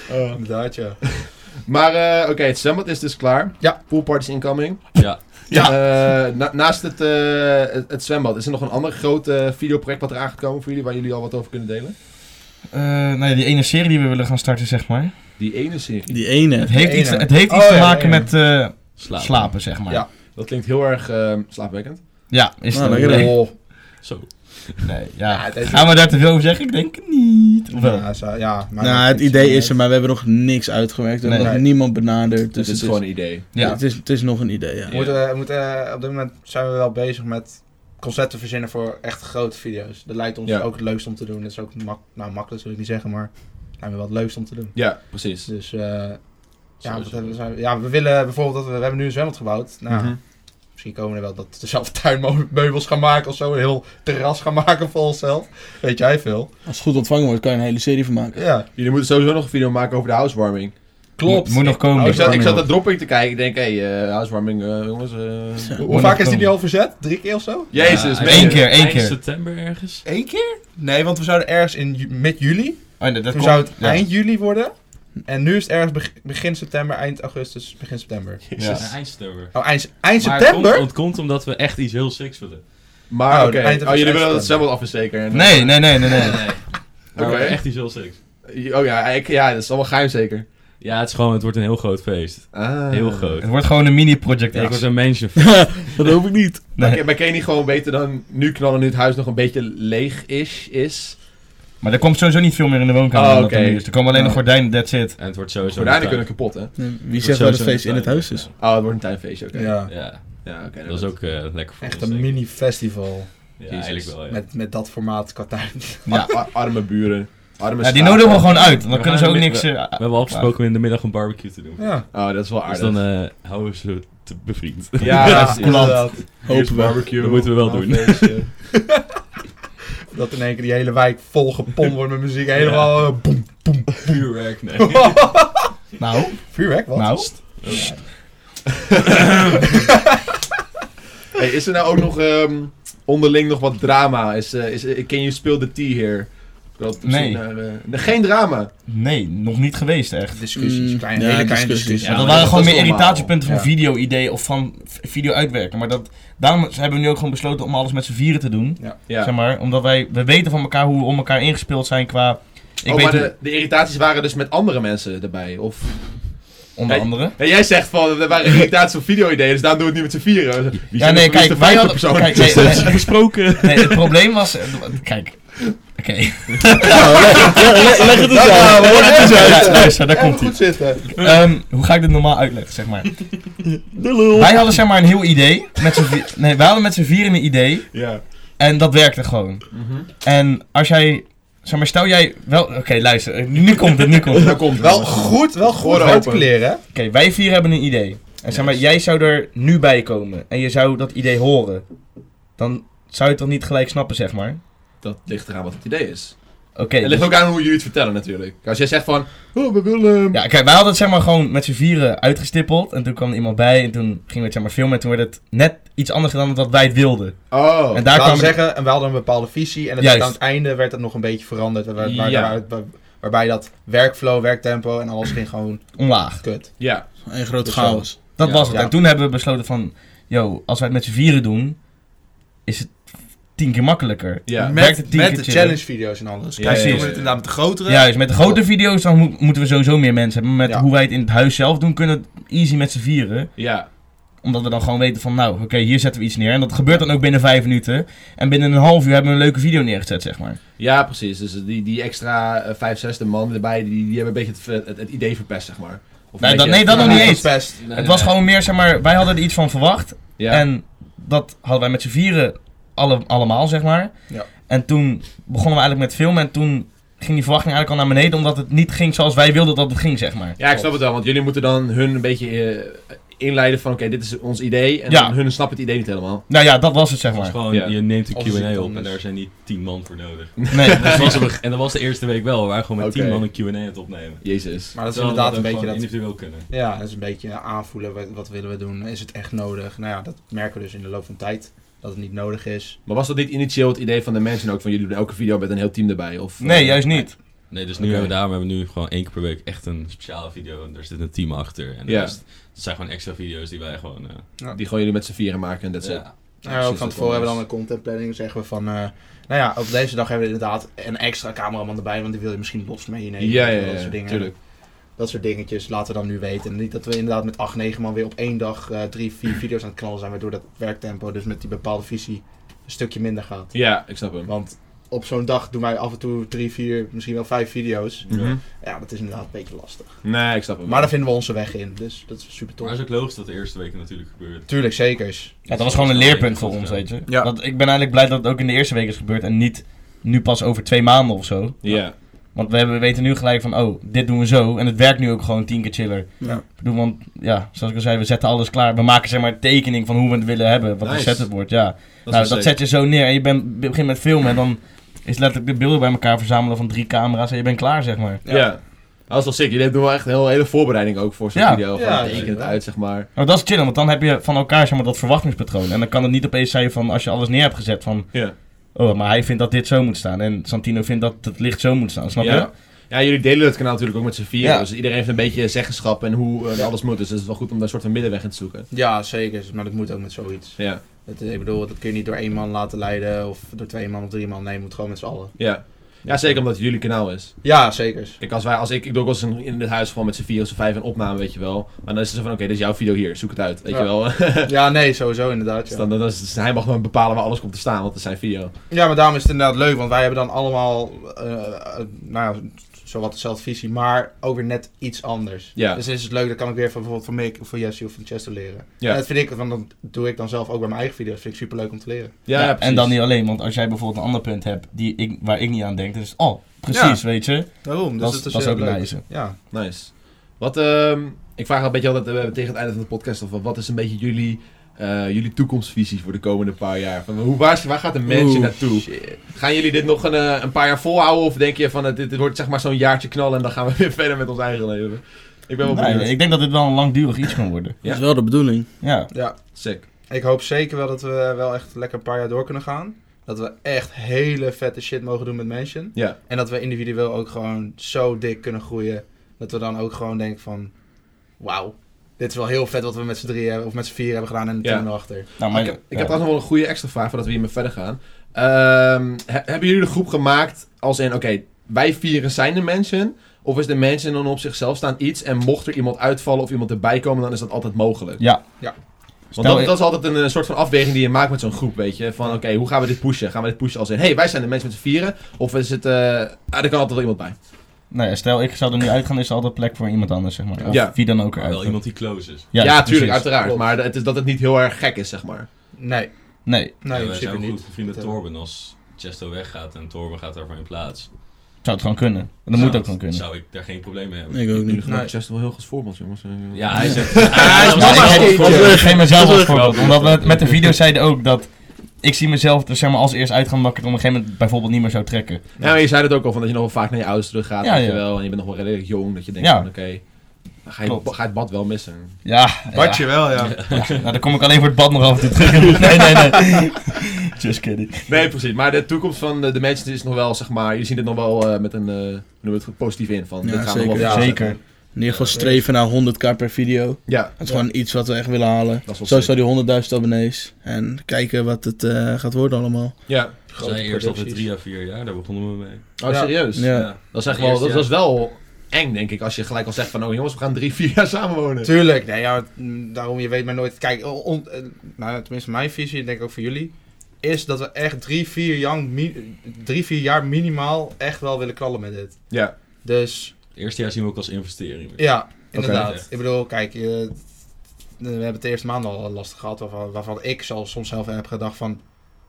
Inderdaad, ja.
nou, Maar eh, oké, het summit is dus klaar.
Ja.
Poolparty is incoming.
Ja.
Ja.
Eh, na- naast het, eh, het, het zwembad, is er nog een ander groot eh, videoproject wat eraan gekomen voor jullie, waar jullie al wat over kunnen delen?
Eh, nou ja, die ene serie die we willen gaan starten, zeg maar.
Die ene serie.
Die
Het
ene.
heeft
De
iets,
ene.
het heeft
Oh,
iets te
ja,
maken
ja, ja.
met eh,
Slaap.
slapen, zeg maar.
Ja.
Ja,
Dat klinkt heel erg eh, slaapwekkend.
is
Nou,
het ook.
lekker
nee,
Oh.
Zo.
nee, ja.
het heeft-
Gaan we daar te veel over zeggen? Ik denk het niet. Of wel?
Ja, zo- ja, maar
Nou, het idee is er, maar we hebben nog niks uitgewerkt. We
Nee.
hebben nog niemand benaderd.
Dus
Dus
het is gewoon een idee.
Ja.
Het, is, het is nog een idee, ja.
We moeten, we moeten, eh, op dit moment zijn we wel bezig met concepten verzinnen voor echt grote video's. Dat lijkt ons
Ja.
ook het leukst om te doen. Dat is ook mak nou, makkelijk, wil ik niet zeggen, maar zijn we wel het leukst om te doen.
Ja, precies.
Dus eh, ja,
Zo
wat hebben
is
we,
het.
zijn we- ja, we willen bijvoorbeeld dat we, we hebben nu een zwembad gebouwd. Nou,
Mhm.
Misschien komen er wel dat we <laughs> zelf tuinmeubels gaan maken of zo. Een heel terras gaan maken voor onszelf. Weet jij veel?
Als het goed ontvangen wordt, kan je een hele serie van maken.
Ja,
Jullie moeten sowieso nog een video maken over de housewarming.
Moet- moet nog komen.
Oh,
ik,
is dat-
zat, ik
Housewarming.
zat naar dropping te kijken. Ik denk, hé, hey, eh, housewarming, eh, jongens.
<laughs>
eh,
Hoe
Moet
vaak
nog
is die
komen.
nu al verzet? Drie keer of zo?
Jezus,
Ja,
meen je?
één keer, één
eind
keer.
september ergens.
Eén keer? Nee, want we zouden ergens in ju- mid juli
Oh, nee, dat
Toen
komt-
zou het
ja.
eind juli worden. En nu is het ergens beg- begin september, eind augustus, begin september.
Ja.
Ja, eind september.
Oh, eind, eind
Maar
september?
Het komt, het komt omdat we echt iets heel seks willen.
Maar
Oh,
oké,
eind
oh, jullie willen dat
september.
het zwembad af is zeker. En,
Nee, nee, nee, nee, nee.
Nee. <laughs> Maar
Oké.
echt iets heel seks.
Oh ja, ik, ja, dat is allemaal geheim zeker.
Ja, het, is gewoon, het wordt een heel groot feest.
Ah.
Heel groot.
Het wordt gewoon een mini-project
Ik word
X.
een mansion.
dat hoop ik niet.
Maar,
Nee.
kan- maar kan je niet gewoon beter dan nu knallen nu het huis nog een beetje leeg is? is?
Maar er komt sowieso niet veel meer in de woonkamer
Oh,
dan dat er
oké.
nu is. Er komen alleen nog gordijnen, that's it.
En het wordt sowieso...
Gordijnen
een
kunnen kapot, hè?
Wie
tuin.
zegt dat
wordt
het
sowieso
feest in
een
het
tuin.
huis is?
Oh, het wordt een tuinfeestje, oké.
Ja.
Ja,
Ja, oké.
dat is ook eh, lekker voor
Echt
ons,
een
denk ik.
mini-festival.
Ja,
Jezus.
eigenlijk wel, ja.
Met, met dat formaat qua tuin.
Ar- ar- arme buren. Arme
Ja, die
straten.
nodigen we gewoon uit, want dan
We
kunnen ze
gaan
ook
in de
niks... eh,
We hebben al afgesproken om in de middag een barbecue te doen.
Ja.
Oh, dat is wel
Dus
aardig.
dan eh, houden we ze te bevriend. <laughs>
ja,
Ja,
precies.
inderdaad.
Hier is
Hopen we.
barbecue.
Dat moeten we wel doen.
Feestje.
Dat in één keer die hele wijk vol gepompt wordt met muziek. Helemaal eh, boem.
Vuurwerk, nee.
Nou,
Vuurwerk, wat?
nou.
<laughs> Hey, is er nou ook nog ehm, onderling nog wat drama? Is, eh is eh, Can You Spill the Tea here? Dat op
Nee.
zoek naar, eh, nee, geen drama.
Nee, nog niet geweest echt.
Discussies,
Mm,
kleine,
ja,
hele kleine
discussies.
discussies.
Ja, dat
maar
waren gewoon
is
meer
normaal.
irritatiepunten van
Ja.
video-idee of van v- video uitwerken. Maar dat, daarom hebben we nu ook gewoon besloten om alles met z'n vieren te doen.
Ja.
Zeg maar, omdat wij we weten van elkaar hoe we om elkaar ingespeeld zijn qua... Ik
oh,
weet
maar
hoe-
de, de irritaties waren dus met andere mensen erbij? Of...
onder
Hey,
andere.
Nee, jij zegt van, er waren irritaties op video-ideeën, dus daarom doen we het niet met z'n vieren. Wie
Ja,
zijn
nee,
de
kijk,
vijfde
wij hadden...
persoon?
Kijk, nee, nee, nee,
Besproken.
<laughs> nee, het probleem was... eh, Kijk, oké.
Nou, leg, leg- leg het eens uit.
Oh,
Leg het eens uit.
Ja, luister, daar komt
Even
ie.
goed zitten.
Ehm, hoe ga ik dit normaal uitleggen, zeg maar? Wij hadden zeg maar een heel idee. Met z'n vi- nee, wij hadden met z'n vieren een idee.
Ja.
En dat werkte
<laughs>
gewoon.
Mhm.
En als jij... Zeg maar, stel jij wel... Oké, luister. eh, Nu komt het, nu komt het. <laughs>
Daar komt
Wel goed, wel goed
Oren open.
articuleren. hè?
Oké, wij vier hebben een idee. En zeg maar, jij zou er nu bij komen. En je zou dat idee horen. Dan zou je het toch niet gelijk snappen, zeg maar?
Dat ligt eraan wat het idee is.
Oké.
het
dus-
ligt ook aan hoe jullie het vertellen natuurlijk. Als jij zegt van, oh, we willen...
Ja, kijk, wij hadden het zeg maar gewoon met z'n vieren uitgestippeld. En toen kwam er iemand bij. En toen gingen we het zeg maar filmen. En toen werd het net iets anders dan wat wij het wilden.
Oh,
en daar
Laten
kwam
we zeggen, en we hadden een bepaalde visie. En het
Juist.
werd aan het einde werd dat nog een beetje veranderd. Waar, waar- waar-
Ja.
waar- waar- waarbij dat werkflow, werktempo en alles ging gewoon
omlaag.
kut.
ja.
Een groot
Dus
chaos.
Dat
Ja,
was het.
ja.
En toen hebben we besloten van... Yo, als wij het met z'n vieren doen... Is het tien keer makkelijker.
Ja.
Werkt
Met,
het tien
met
keer
de
chiller.
challenge video's en alles.
Ja,
Kijk,
precies.
doen we het inderdaad met de grotere.
Juist, met de grote video's dan mo- moeten we sowieso meer mensen hebben. Maar Met
Ja.
hoe wij het in het huis zelf doen, kunnen we het easy met z'n vieren.
Ja,
Omdat we dan gewoon weten van, nou, oké, hier zetten we iets neer. En dat gebeurt dan ook binnen vijf minuten. En binnen een half uur hebben we een leuke video neergezet, zeg maar.
ja precies. Dus die, die extra eh, vijf, zesde man erbij, die, die hebben een beetje het, het, het idee verpest, zeg maar. Of
Nee,
een
dat-
beetje-
nee, dat nog niet eens.
Best.
het was gewoon meer, zeg maar, wij hadden er iets van verwacht.
Ja.
En dat hadden wij met z'n vieren alle, allemaal, zeg maar.
Ja.
En toen begonnen we eigenlijk met filmen en toen ging die verwachting eigenlijk al naar beneden, omdat het niet ging zoals wij wilden dat het ging, zeg maar.
Ja, ik snap het wel, want jullie moeten dan hun een beetje eh, inleiden van oké, dit is ons idee. En
Ja.
dan hun snappen het idee niet helemaal.
Nou ja, dat was het, zeg
Het
maar.
is gewoon,
Ja.
Je neemt
Of is het
een Q&A op en
anders?
daar zijn niet tien man voor nodig.
Nee,
En dat was, en dat was de eerste week wel, we waren gewoon met
Oké.
tien man een Q&A aan het opnemen.
Jezus.
Maar dat is
Terwijl we
inderdaad een beetje
gewoon
dat.
individueel kunnen.
Ja, dat is een beetje aanvoelen. Wat, wat willen we doen? Is het echt nodig? Nou ja, dat merken we dus in de loop van tijd. Dat het niet nodig is.
Maar was dat niet initieel het idee van de mensen ook? Van jullie doen elke video met een heel team erbij? Of,
nee
eh,
juist niet.
Nee, dus nu
Oké.
hebben we daarom hebben we nu gewoon één keer per week echt een speciale video. En daar zit een team achter. En de
Ja.
rest- dat zijn gewoon extra video's die wij gewoon... eh,
Die gewoon jullie met z'n vieren maken en dat is it.
ja.
Nou, ja, ook
precies,
van
dat
tevoren
wel
hebben
is.
we dan een contentplanning. Zeggen we van, eh, nou ja, op deze dag hebben we inderdaad een extra cameraman erbij. Want die wil je misschien los meenemen.
ja,
weet
ja,
je wel, dat
ja,
soort dingen.
tuurlijk.
Dat soort dingetjes laten we dan nu weten. En niet dat we inderdaad met 8, 9 man weer op één dag eh drie, vier video's aan het knallen zijn. Waardoor dat werktempo dus met die bepaalde visie een stukje minder gaat.
Ja, ik snap hem.
Want op zo'n dag doen wij af en toe drie, vier, misschien wel vijf video's.
Mhm.
Ja, dat is inderdaad een beetje lastig.
Nee, ik snap hem.
Maar daar vinden we onze weg in. Dus dat is super
Maar het
tof.
is ook logisch dat de eerste week natuurlijk gebeurt.
Tuurlijk, zeker.
Ja, dat was gewoon een leerpunt voor ons, weet je.
Ja.
Dat, ik ben eigenlijk blij dat het ook in de eerste week is gebeurd en niet nu pas over twee maanden of zo.
Ja.
Want we, hebben, we weten nu gelijk van, oh, dit doen we zo. En het werkt nu ook gewoon tien keer chiller.
Ja.
Ik bedoel, want ja, zoals ik al zei, we zetten alles klaar. We maken zeg maar een tekening van hoe we het willen hebben. Wat
Nice.
de setup wordt, ja.
Dat
nou,
is
dat zet je zo neer en je bent, begint met filmen en dan is letterlijk de beelden bij elkaar verzamelen van drie camera's en je bent klaar, zeg maar.
Ja. Dat is wel sick. Jullie doen wel echt een heel- hele voorbereiding ook voor zo'n
Ja.
video. Gewoon
Ja,
teken het
inderdaad.
uit, zeg maar.
Nou, dat is chill, want dan heb je van elkaar zeg maar, dat verwachtingspatroon. En dan kan het niet opeens zijn van, als je alles neer hebt gezet, van...
Ja.
Oh, maar hij vindt dat dit zo moet staan. En Santino vindt dat het licht zo moet staan, snap je?
Ja. ja, jullie delen het kanaal natuurlijk ook met z'n vieren.
Ja.
Dus iedereen heeft een beetje zeggenschap en hoe eh, alles moet. Dus het is wel goed om daar een soort van middenweg in te zoeken.
Ja, zeker. Maar dat moet ook met zoiets.
Ja,
Dat, eh, ik bedoel, dat kun je niet door één man laten leiden. Of door twee man of drie man. Nee, je moet gewoon met z'n allen.
ja. ja zeker omdat het jullie kanaal is.
Ja,
<laughs>
zeker.
Kijk, als wij, als ik, ik doe ook wel eens een- in het huis gewoon met z'n vier of z'n vijf een opname, weet je wel. Maar dan is het zo van, oké, dit is jouw video hier, zoek het uit, weet
Ja.
je wel. <laughs> Dus
Ja, nee, sowieso inderdaad. Ja.
dan, dan is, het- hij mag gewoon bepalen waar alles komt te staan, want het is zijn video.
Ja, maar daarom is het inderdaad leuk, want wij hebben dan allemaal, eh, eh, nou ja, zowat dezelfde visie, maar ook weer net iets anders.
Ja.
Dus is het leuk, dan kan ik weer van bijvoorbeeld van Mick of van Jesse of van Chester leren.
Ja.
En dat vind ik, want dat doe ik dan zelf ook bij mijn eigen video's, vind ik super leuk om te leren.
Ja, ja, precies.
en dan niet alleen, want als jij bijvoorbeeld een ander punt hebt die ik, waar ik niet aan denk, dan is het, oh, precies, weet je.
Daarom, dus
dat,
het
is,
is
dat is
heel
ook
leuk.
nice.
Ja.
Nice. Wat, ehm, ik vraag een beetje altijd eh, tegen het einde van de podcast, of wat is een beetje jullie, eh, jullie toekomstvisie voor de komende paar jaar? Van, hoe, waar, waar gaat de mensje naartoe? Gaan jullie dit nog een, eh, een paar jaar volhouden, of denk je van, eh, dit, dit wordt zeg maar zo'n jaartje knallen en dan gaan we <laughs> weer verder met ons eigen leven? Ik ben wel
Nee,
benieuwd.
ik denk dat dit wel een langdurig iets
<laughs>
kan worden.
Ja.
Dat is wel de bedoeling.
Ja.
ja,
Sick.
ik hoop zeker wel dat we wel echt lekker een paar jaar door kunnen gaan. Dat we echt hele vette shit mogen doen met mensen.
Ja.
En dat we individueel ook gewoon zo dik kunnen groeien. Dat we dan ook gewoon denken van... Wauw, dit is wel heel vet wat we met z'n drieën hebben, of met z'n vier hebben gedaan en de
Ja.
team erachter.
Nou, maar,
ik heb, ik
ja.
heb trouwens nog wel een goede extra vraag voordat we hiermee verder gaan. Ehm, he- hebben jullie de groep gemaakt als in, oké, wij vieren zijn de mensen? Of is de mensen dan op zichzelf staan iets en mocht er iemand uitvallen of iemand erbij komen, dan is dat altijd mogelijk?
Ja.
Ja.
Stel
Want dat,
ik-
dat is altijd een, eh, soort van afweging die je maakt met zo'n groep, weet je. Van oké, hoe gaan we dit pushen? Gaan we dit pushen als in, hey, wij zijn de mensen met z'n vieren? Of is het, eh ah, er kan altijd wel iemand bij.
nou ja, stel ik zou er nu uitgaan, is er altijd plek voor iemand anders, zeg maar. Of
Ja.
wie dan ook
Maar
eruit.
wel iemand die close is.
Ja,
precies.
tuurlijk, uiteraard.
Klopt.
Maar het is dat het niet heel erg gek is, zeg maar.
Nee,
Nee,
nee,
Ja,
in
wij
principe
zijn ook goed
niet.
bevriend met
Dat, eh,
Torben als Chesto weggaat en Torben gaat daarvan in plaats.
zou het gewoon kunnen. Dat
Zou-
moet ook gewoon kunnen.
Zou ik daar geen probleem mee hebben.
Ik ook
Jullie
niet.
gebruiken
Nee.
Chester wel heel goed als voorbeeld, jongens.
Ja, hij
<laughs>
zegt...
hij is
Ja,
mama's
ik- ik-
kindje.
Ik geef mezelf als voorbeeld.
wel-
Omdat we het met de video zeiden ook dat ik zie mezelf er zeg maar, als eerst uitgaan dat ik het op een gegeven moment bijvoorbeeld niet meer zou trekken.
Ja, maar je zei het ook al, van dat je nog wel vaak naar je ouders terug gaat,
Ja,
weet je
ja.
wel. En je bent nog wel redelijk jong, dat je denkt
Ja.
van, oké, dan ga, je,
Klopt.
ga je het bad wel missen.
Ja,
Badje wel, ja.
ja. Nou, dan kom ik alleen voor het bad nog af en toe terug. Nee, nee, nee. Just kidding.
Nee, precies. Maar de toekomst van de, de mensen is nog wel, zeg maar, je ziet het nog wel eh, met een, eh, hoe noemen we het, positief in. Van,
Ja,
dit gaan we
zeker.
nog wel
Zeker.
In ieder geval streven naar 100k per video.
Ja,
Dat is gewoon iets wat we echt willen halen.
dat is wel
Sowieso
sick.
die 100.000 abonnees. En kijken wat het eh, gaat worden allemaal.
Ja.
Zij eerst altijd drie à vier jaar, daar begonnen we mee.
Oh,
Ja.
serieus?
Ja.
Dat is echt
Het
wel,
eerste
dat, dat is wel eng, denk ik, als je gelijk al zegt van, oh jongens, we gaan drie, vier jaar samenwonen.
Tuurlijk, nee, ja, mm, daarom je weet maar nooit. Kijk, on- on- eh, nou, ja, tenminste mijn visie, ik denk ook voor jullie, is dat we echt drie vier, jaar, mi- drie, vier jaar minimaal echt wel willen knallen met dit.
Ja.
Dus
Het eerste jaar zien we ook als investering.
ja, inderdaad.
Ja.
Ik bedoel, kijk, eh, we hebben het de eerste maand al lastig gehad, waarvan, waarvan ik zelf soms zelf heb gedacht van,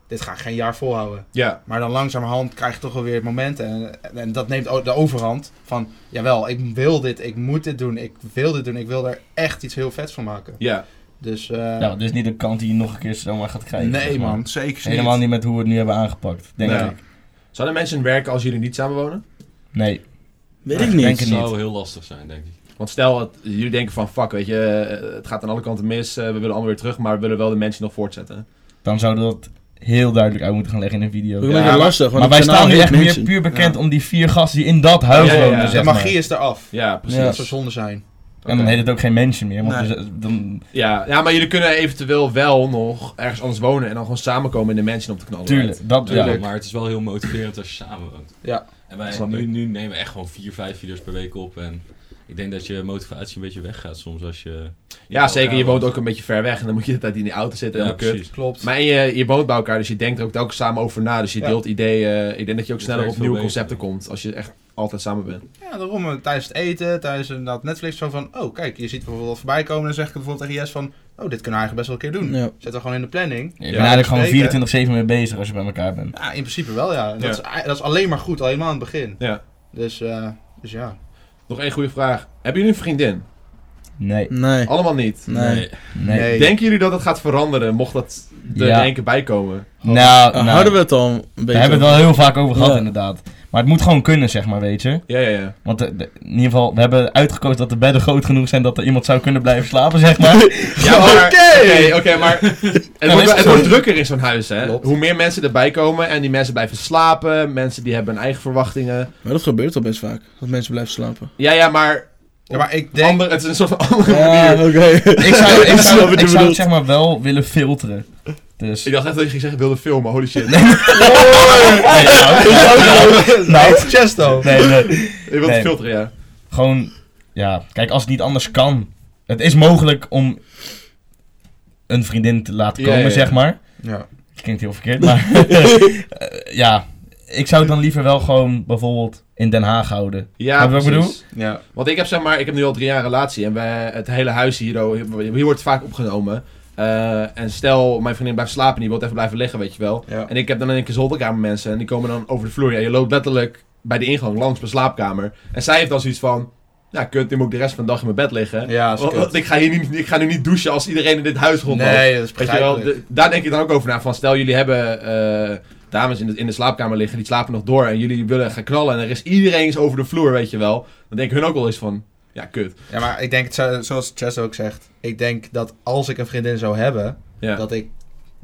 dit ga ik geen jaar volhouden.
Ja.
Maar dan langzamerhand krijg je toch wel weer momenten. En, en, en dat neemt ook de overhand van, jawel, ik wil dit, ik moet dit doen, ik wil dit doen, ik wil daar echt iets heel vets van maken.
Ja.
Dus, eh,
Ja, Nou, dit is niet een kant die je nog een keer zomaar gaat krijgen. zeg
nee
maar.
man, zeker niet.
Helemaal niet met hoe we het nu hebben aangepakt, denk
Nee.
ik.
Zouden mensen werken als jullie niet samenwonen?
Nee.
Weet
Ja,
ik
ik
niet.
denk
Het
het
zou heel lastig zijn, denk ik.
Want stel, dat jullie denken van, fuck, weet je, eh, het gaat aan alle kanten mis, eh, we willen allemaal weer terug, maar we willen wel de mensen nog voortzetten.
Dan zouden we dat heel duidelijk uit moeten gaan leggen in een video.
We
Ja,
maken het
maar-
lastig. want
Maar
het
wij
zijn
staan nu
allemaal
echt meer
mensen.
puur bekend
Ja.
om die vier gasten die in dat huis
Ja, ja, ja.
wonen,
De
zeg
de
maar.
magie is eraf.
Ja, precies.
Ja.
Dat zou zonde zijn.
Oké.
En dan heet het ook geen mensen meer, want
Nee.
dus, eh, dan...
Ja, ja, maar jullie kunnen eventueel wel nog ergens anders wonen en dan gewoon samenkomen in de mensen op te knallen.
Tuurlijk, dat...
Ja,
Ja.
maar het is wel heel motiverend als je samen woont.
Ja.
En wij
Snap ik.
nu, nu nemen we echt gewoon vier, vijf video's per week op. En ik denk dat je motivatie een beetje weggaat soms als je...
Ja, zeker. Je woont ook een beetje ver weg en dan moet je de hele tijd in die auto zitten.
Ja,
helemaal kut.
precies.
Klopt.
Maar en je, je woont bij elkaar, dus je denkt er ook telkens samen over na. Dus je
Ja.
deelt ideeën. Ik denk dat je ook
Dat
sneller
werkt
op nieuwe
veel beter.
concepten komt als je echt altijd samen bent.
Ja, daarom eh, tijdens het eten, tijdens inderdaad Netflix, zo van, oh kijk, je ziet bijvoorbeeld wat voorbij komen. Dan zeg ik bijvoorbeeld tegen Jess van, oh dit kunnen we eigenlijk best wel een keer doen.
Ja.
Zet we gewoon in de planning.
Je bent
Ja,
zeker.
eigenlijk gewoon 24-7 mee bezig als je bij elkaar bent.
Ja, in principe wel ja. En
Ja.
Dat, Is, dat is alleen maar goed, al helemaal aan het begin.
Ja.
Dus, eh, dus ja.
Nog één goede vraag. Hebben jullie een vriendin?
Nee,
Nee.
Allemaal niet.
Nee.
nee.
Nee.
Denken jullie dat het gaat veranderen, mocht dat er
Ja.
in één keer bij komen?
Nou,
Dan
nou,
Houden we het al een beetje.
we hebben het wel heel vaak over gehad
Ja.
inderdaad. Maar het moet gewoon kunnen, zeg maar, weet je.
Ja, ja, ja.
Want eh, de- in ieder geval, we hebben uitgekozen dat de bedden groot genoeg zijn dat er iemand zou kunnen blijven slapen, zeg maar.
Ja, maar- Oké, oké,
<laughs>
maar het, wordt,
is
wel-
het
het
zo.
wordt drukker in zo'n huis, hè?
Klopt.
Hoe meer mensen erbij komen en die mensen blijven slapen, mensen die hebben hun eigen verwachtingen.
Maar dat gebeurt al best vaak. Dat mensen blijven
<laughs>
slapen.
Ja, ja, maar,
Ja, maar ik denk,
ander, het is een soort van <laughs> andere
<laughs> Ja,
manier.
oké.
ik zou,
snap wat
ik
je
zou, ik zou
bedoelt.
het zeg
<laughs>
maar wel willen filteren. Dus...
Ik dacht echt dat je ging zeggen wilde filmen, holy shit.
Nee, nou,
nou, Chesto.
nee, nee.
Je wilt
Nee.
filteren, ja.
Gewoon, ja, kijk, als het niet anders kan. Het is mogelijk om een vriendin te laten
Ja,
komen,
ja, ja.
zeg maar.
Ja.
Klinkt heel verkeerd, maar <laughs> eh, ja. Ik zou het dan liever wel gewoon bijvoorbeeld in Den Haag houden.
Ja,
Snap je wat ik
precies.
bedoel?
Ja.
Want ik heb zeg maar, ik heb nu al drie jaar een relatie en we, het hele huis hier, oh, hier wordt het vaak opgenomen. Eh, en stel, mijn vriendin blijft slapen en die wil even blijven liggen, weet je wel.
Ja.
En ik heb dan in een keer zolderkamer mensen en die komen dan over de vloer. En je loopt letterlijk bij de ingang langs mijn slaapkamer. En zij heeft dan zoiets van, ja kut, nu moet ik de rest van de dag in mijn bed liggen.
Ja, is
Want-
kut.
want ik, ga hier niet, ik ga nu niet douchen als iedereen in dit huis rondloopt.
Nee, dat is
Weet je wel,
begrijpelijk.
de- daar denk ik dan ook over na. Van stel jullie hebben eh, dames in de, in de slaapkamer liggen, die slapen nog door en jullie willen gaan knallen en er is iedereen eens over de vloer, weet je wel. Dan denk ik hun ook wel eens van, ja kut.
Ja, maar ik denk, het zo- zoals Chesto ook zegt, ik denk dat als ik een vriendin zou hebben,
Ja,
dat ik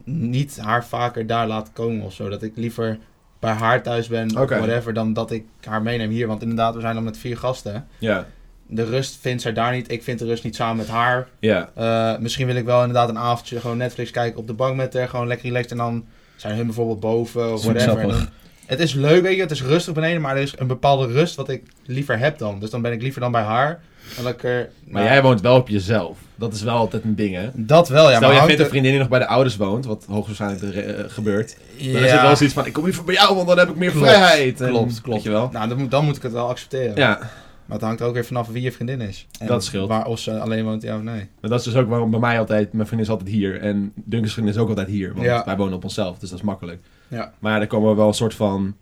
niet haar vaker daar laat komen of zo. Dat ik liever bij haar thuis ben
Oké.
of whatever, dan dat ik haar meeneem hier. Want inderdaad, we zijn dan met vier gasten.
ja,
De rust vindt zij daar niet. Ik vind de rust niet samen met haar.
ja.
Eh, misschien wil ik wel inderdaad een avondje gewoon Netflix kijken op de bank met haar. Gewoon lekker relaxed. En dan zijn hun bijvoorbeeld boven of whatever. En
Zoetsappig.
dan- Het is leuk, weet je. Het is rustig beneden, maar er is een bepaalde rust wat ik liever heb dan. Dus dan ben ik liever dan bij haar. Dan dat ik er...
Maar
nou,
jij woont wel op jezelf. Dat is wel altijd een ding, hè?
Dat wel, Oh ja.
Stel, jij
maar hangt
vindt een
er-
vriendin die nog bij de ouders woont, wat hoogstwaarschijnlijk er, eh, gebeurt. Dan is
Ja.
het wel zoiets van, ik kom liever bij jou, want dan heb ik meer
Klopt,
vrijheid. En,
klopt,
Weet je wel?
Nou, dan moet, dan moet ik het wel accepteren.
Ja,
Maar het hangt er ook weer vanaf wie je vriendin is.
Dat scheelt.
Waar, of ze alleen woont, ja of nee.
maar dat is dus ook waarom bij mij altijd, mijn vriendin is altijd hier. En Duncan's vriendin is ook altijd hier, want
Ja.
wij wonen op onszelf, dus dat is makkelijk.
Ja.
Maar er komen wel een soort van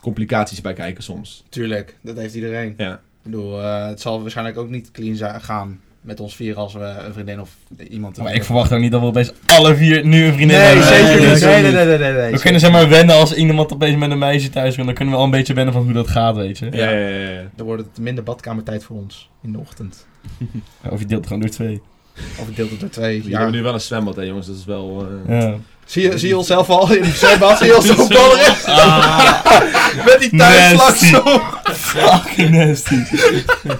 complicaties bij kijken soms.
Tuurlijk, dat heeft iedereen.
Ja.
Ik bedoel, eh, het zal waarschijnlijk ook niet clean za- gaan met ons vier als we een vriendin of iemand
Maar ik verwacht ook niet dat we opeens alle vier nu een vriendin
Nee,
hebben.
zeker
nee,
niet.
zeker
Nee, nee, nee, nee, nee, nee.
We kunnen zeg maar wennen als iemand opeens met een meisje thuis komt. Dan kunnen we al een beetje wennen van hoe dat gaat, weet je.
Ja, ja, ja. ja.
Dan wordt het minder badkamertijd voor ons in de ochtend.
Of je deelt gewoon door twee.
Of ik deel het door twee.
Jullie hebben
Ja.
nu wel een zwembad, hè jongens. Dat is wel... eh,
Ja.
Zie je, zie je onszelf al in de zwembad? <laughs> Zie je ons zo
<laughs>
ballen? Met die tuinslag
Ah, Nasty.
zo.
Fucking nasty.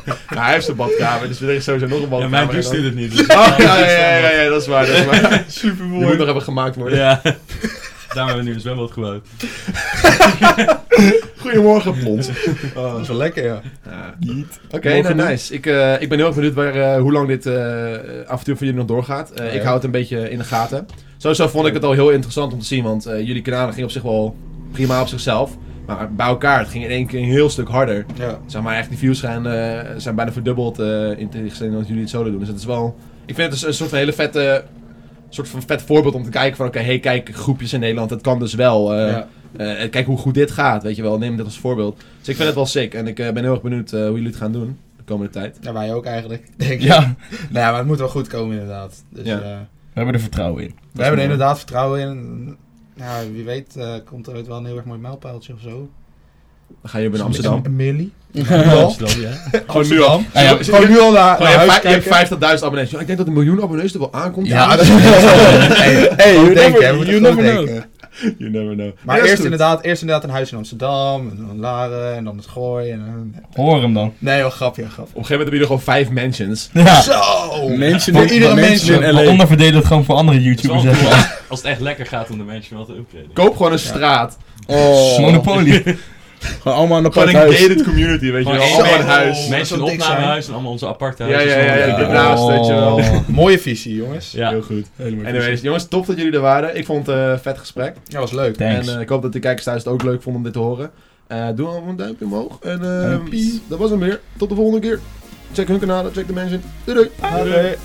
Nou, hij heeft zijn badkamer, dus er is sowieso nog een
Ja,
badkamer.
mijn
en
douche
dan-
doet het niet. dus
Oh, ja, ja, ja, ja, ja, dat is
<laughs>
waar. Dat is waar.
Super
Die moet nog even gemaakt worden.
<laughs> Ja. Daarom hebben we nu een zwembad gebouwd.
Goedemorgen, Plons.
Oh, dat is wel lekker, ja.
Eh, Oké, nou, nice. Ik, eh, ik ben heel erg benieuwd waar, eh, hoe lang dit eh, avontuur van jullie nog doorgaat. Eh, Ik hou het een beetje in de gaten. Sowieso vond ik het al heel interessant om te zien, want eh, jullie kanalen gingen op zich wel prima op zichzelf. Maar bij elkaar, het ging in één keer een heel stuk harder.
ja.
Zeg maar, echt, die views gaan, eh, zijn bijna verdubbeld eh in tegenstelling dat jullie het solo doen. Dus het is wel... Ik vind het dus een, een soort van hele vette... soort van vet voorbeeld om te kijken van... Oké, hey, kijk, groepjes in Nederland, het kan dus wel. eh,
Ja.
eh, en kijk hoe goed dit gaat, weet je wel. Neem dit als voorbeeld. Dus ik vind het wel sick. En ik eh, ben heel erg benieuwd eh, hoe jullie het gaan doen de komende tijd.
Ja, wij ook eigenlijk. Denk ik.
Ja,
Nou ja, maar het moet wel goed komen inderdaad. Dus,
Ja.
eh,
we hebben er vertrouwen in.
we hebben er inderdaad vertrouwen in. Nou, wie weet eh, komt er ooit wel een heel erg mooi mijlpaaltje of zo.
Dan gaan jullie in Amsterdam.
Een milli. <laughs>
Amsterdam, ja.
Gewoon nu al.
Nou ja,
Gewoon nu al naar,
Gewoon, Oh,
naar
je hebt
huis
vij- je
kijken.
hebt 50.000 abonnees. Ja, Ik denk dat een miljoen abonnees er wel aankomt.
Ja, dat is
<laughs>
hey, hey, you
never-
hè, we moeten
you
gewoon
never know.
denken.
you never know.
Maar
Ja, is
eerst
goed.
inderdaad, eerst inderdaad een huis in Amsterdam, en dan Laren, en dan het Gooi. En, dan-
hoor hem dan.
Nee, wel grapje, wel grapje.
Op een gegeven moment hebben jullie gewoon vijf mentions.
Ja.
Zo!
Mensen
Voor
in-
iedere
mensen
mens.
in LA.
Waaronder verdeelt het gewoon voor andere YouTubers.
Zal-
zeg maar.
Als het echt lekker gaat om de mensen wel te upgraden.
Koop gewoon een straat.
Oh,
Monopoly.
<laughs>
Gewoon allemaal een apart
Gewoon een
huis.
gated community, weet je wel.
Gewoon
Allemaal
één-
een huis.
Oh. dat
Mensen
zou
een
dik zijn.
opnamehuis en allemaal onze aparte
Ja,
huizen.
ja, ja, ja.
zonder-
Daarnaast, weet je wel.
Mooie visie, jongens.
Ja.
Heel goed.
Helemaal
Anyways, jongens, tof dat jullie er waren. Ik vond het eh, een vet gesprek.
Ja, was leuk.
Thanks.
En eh, ik hoop dat de kijkers thuis het ook leuk vonden om dit te horen. Eh, doe allemaal een duimpje omhoog. En eh,
Duimpjes.
dat was hem weer. Tot de volgende keer. Check hun kanalen, check de mensen. Doei doei.
Doei.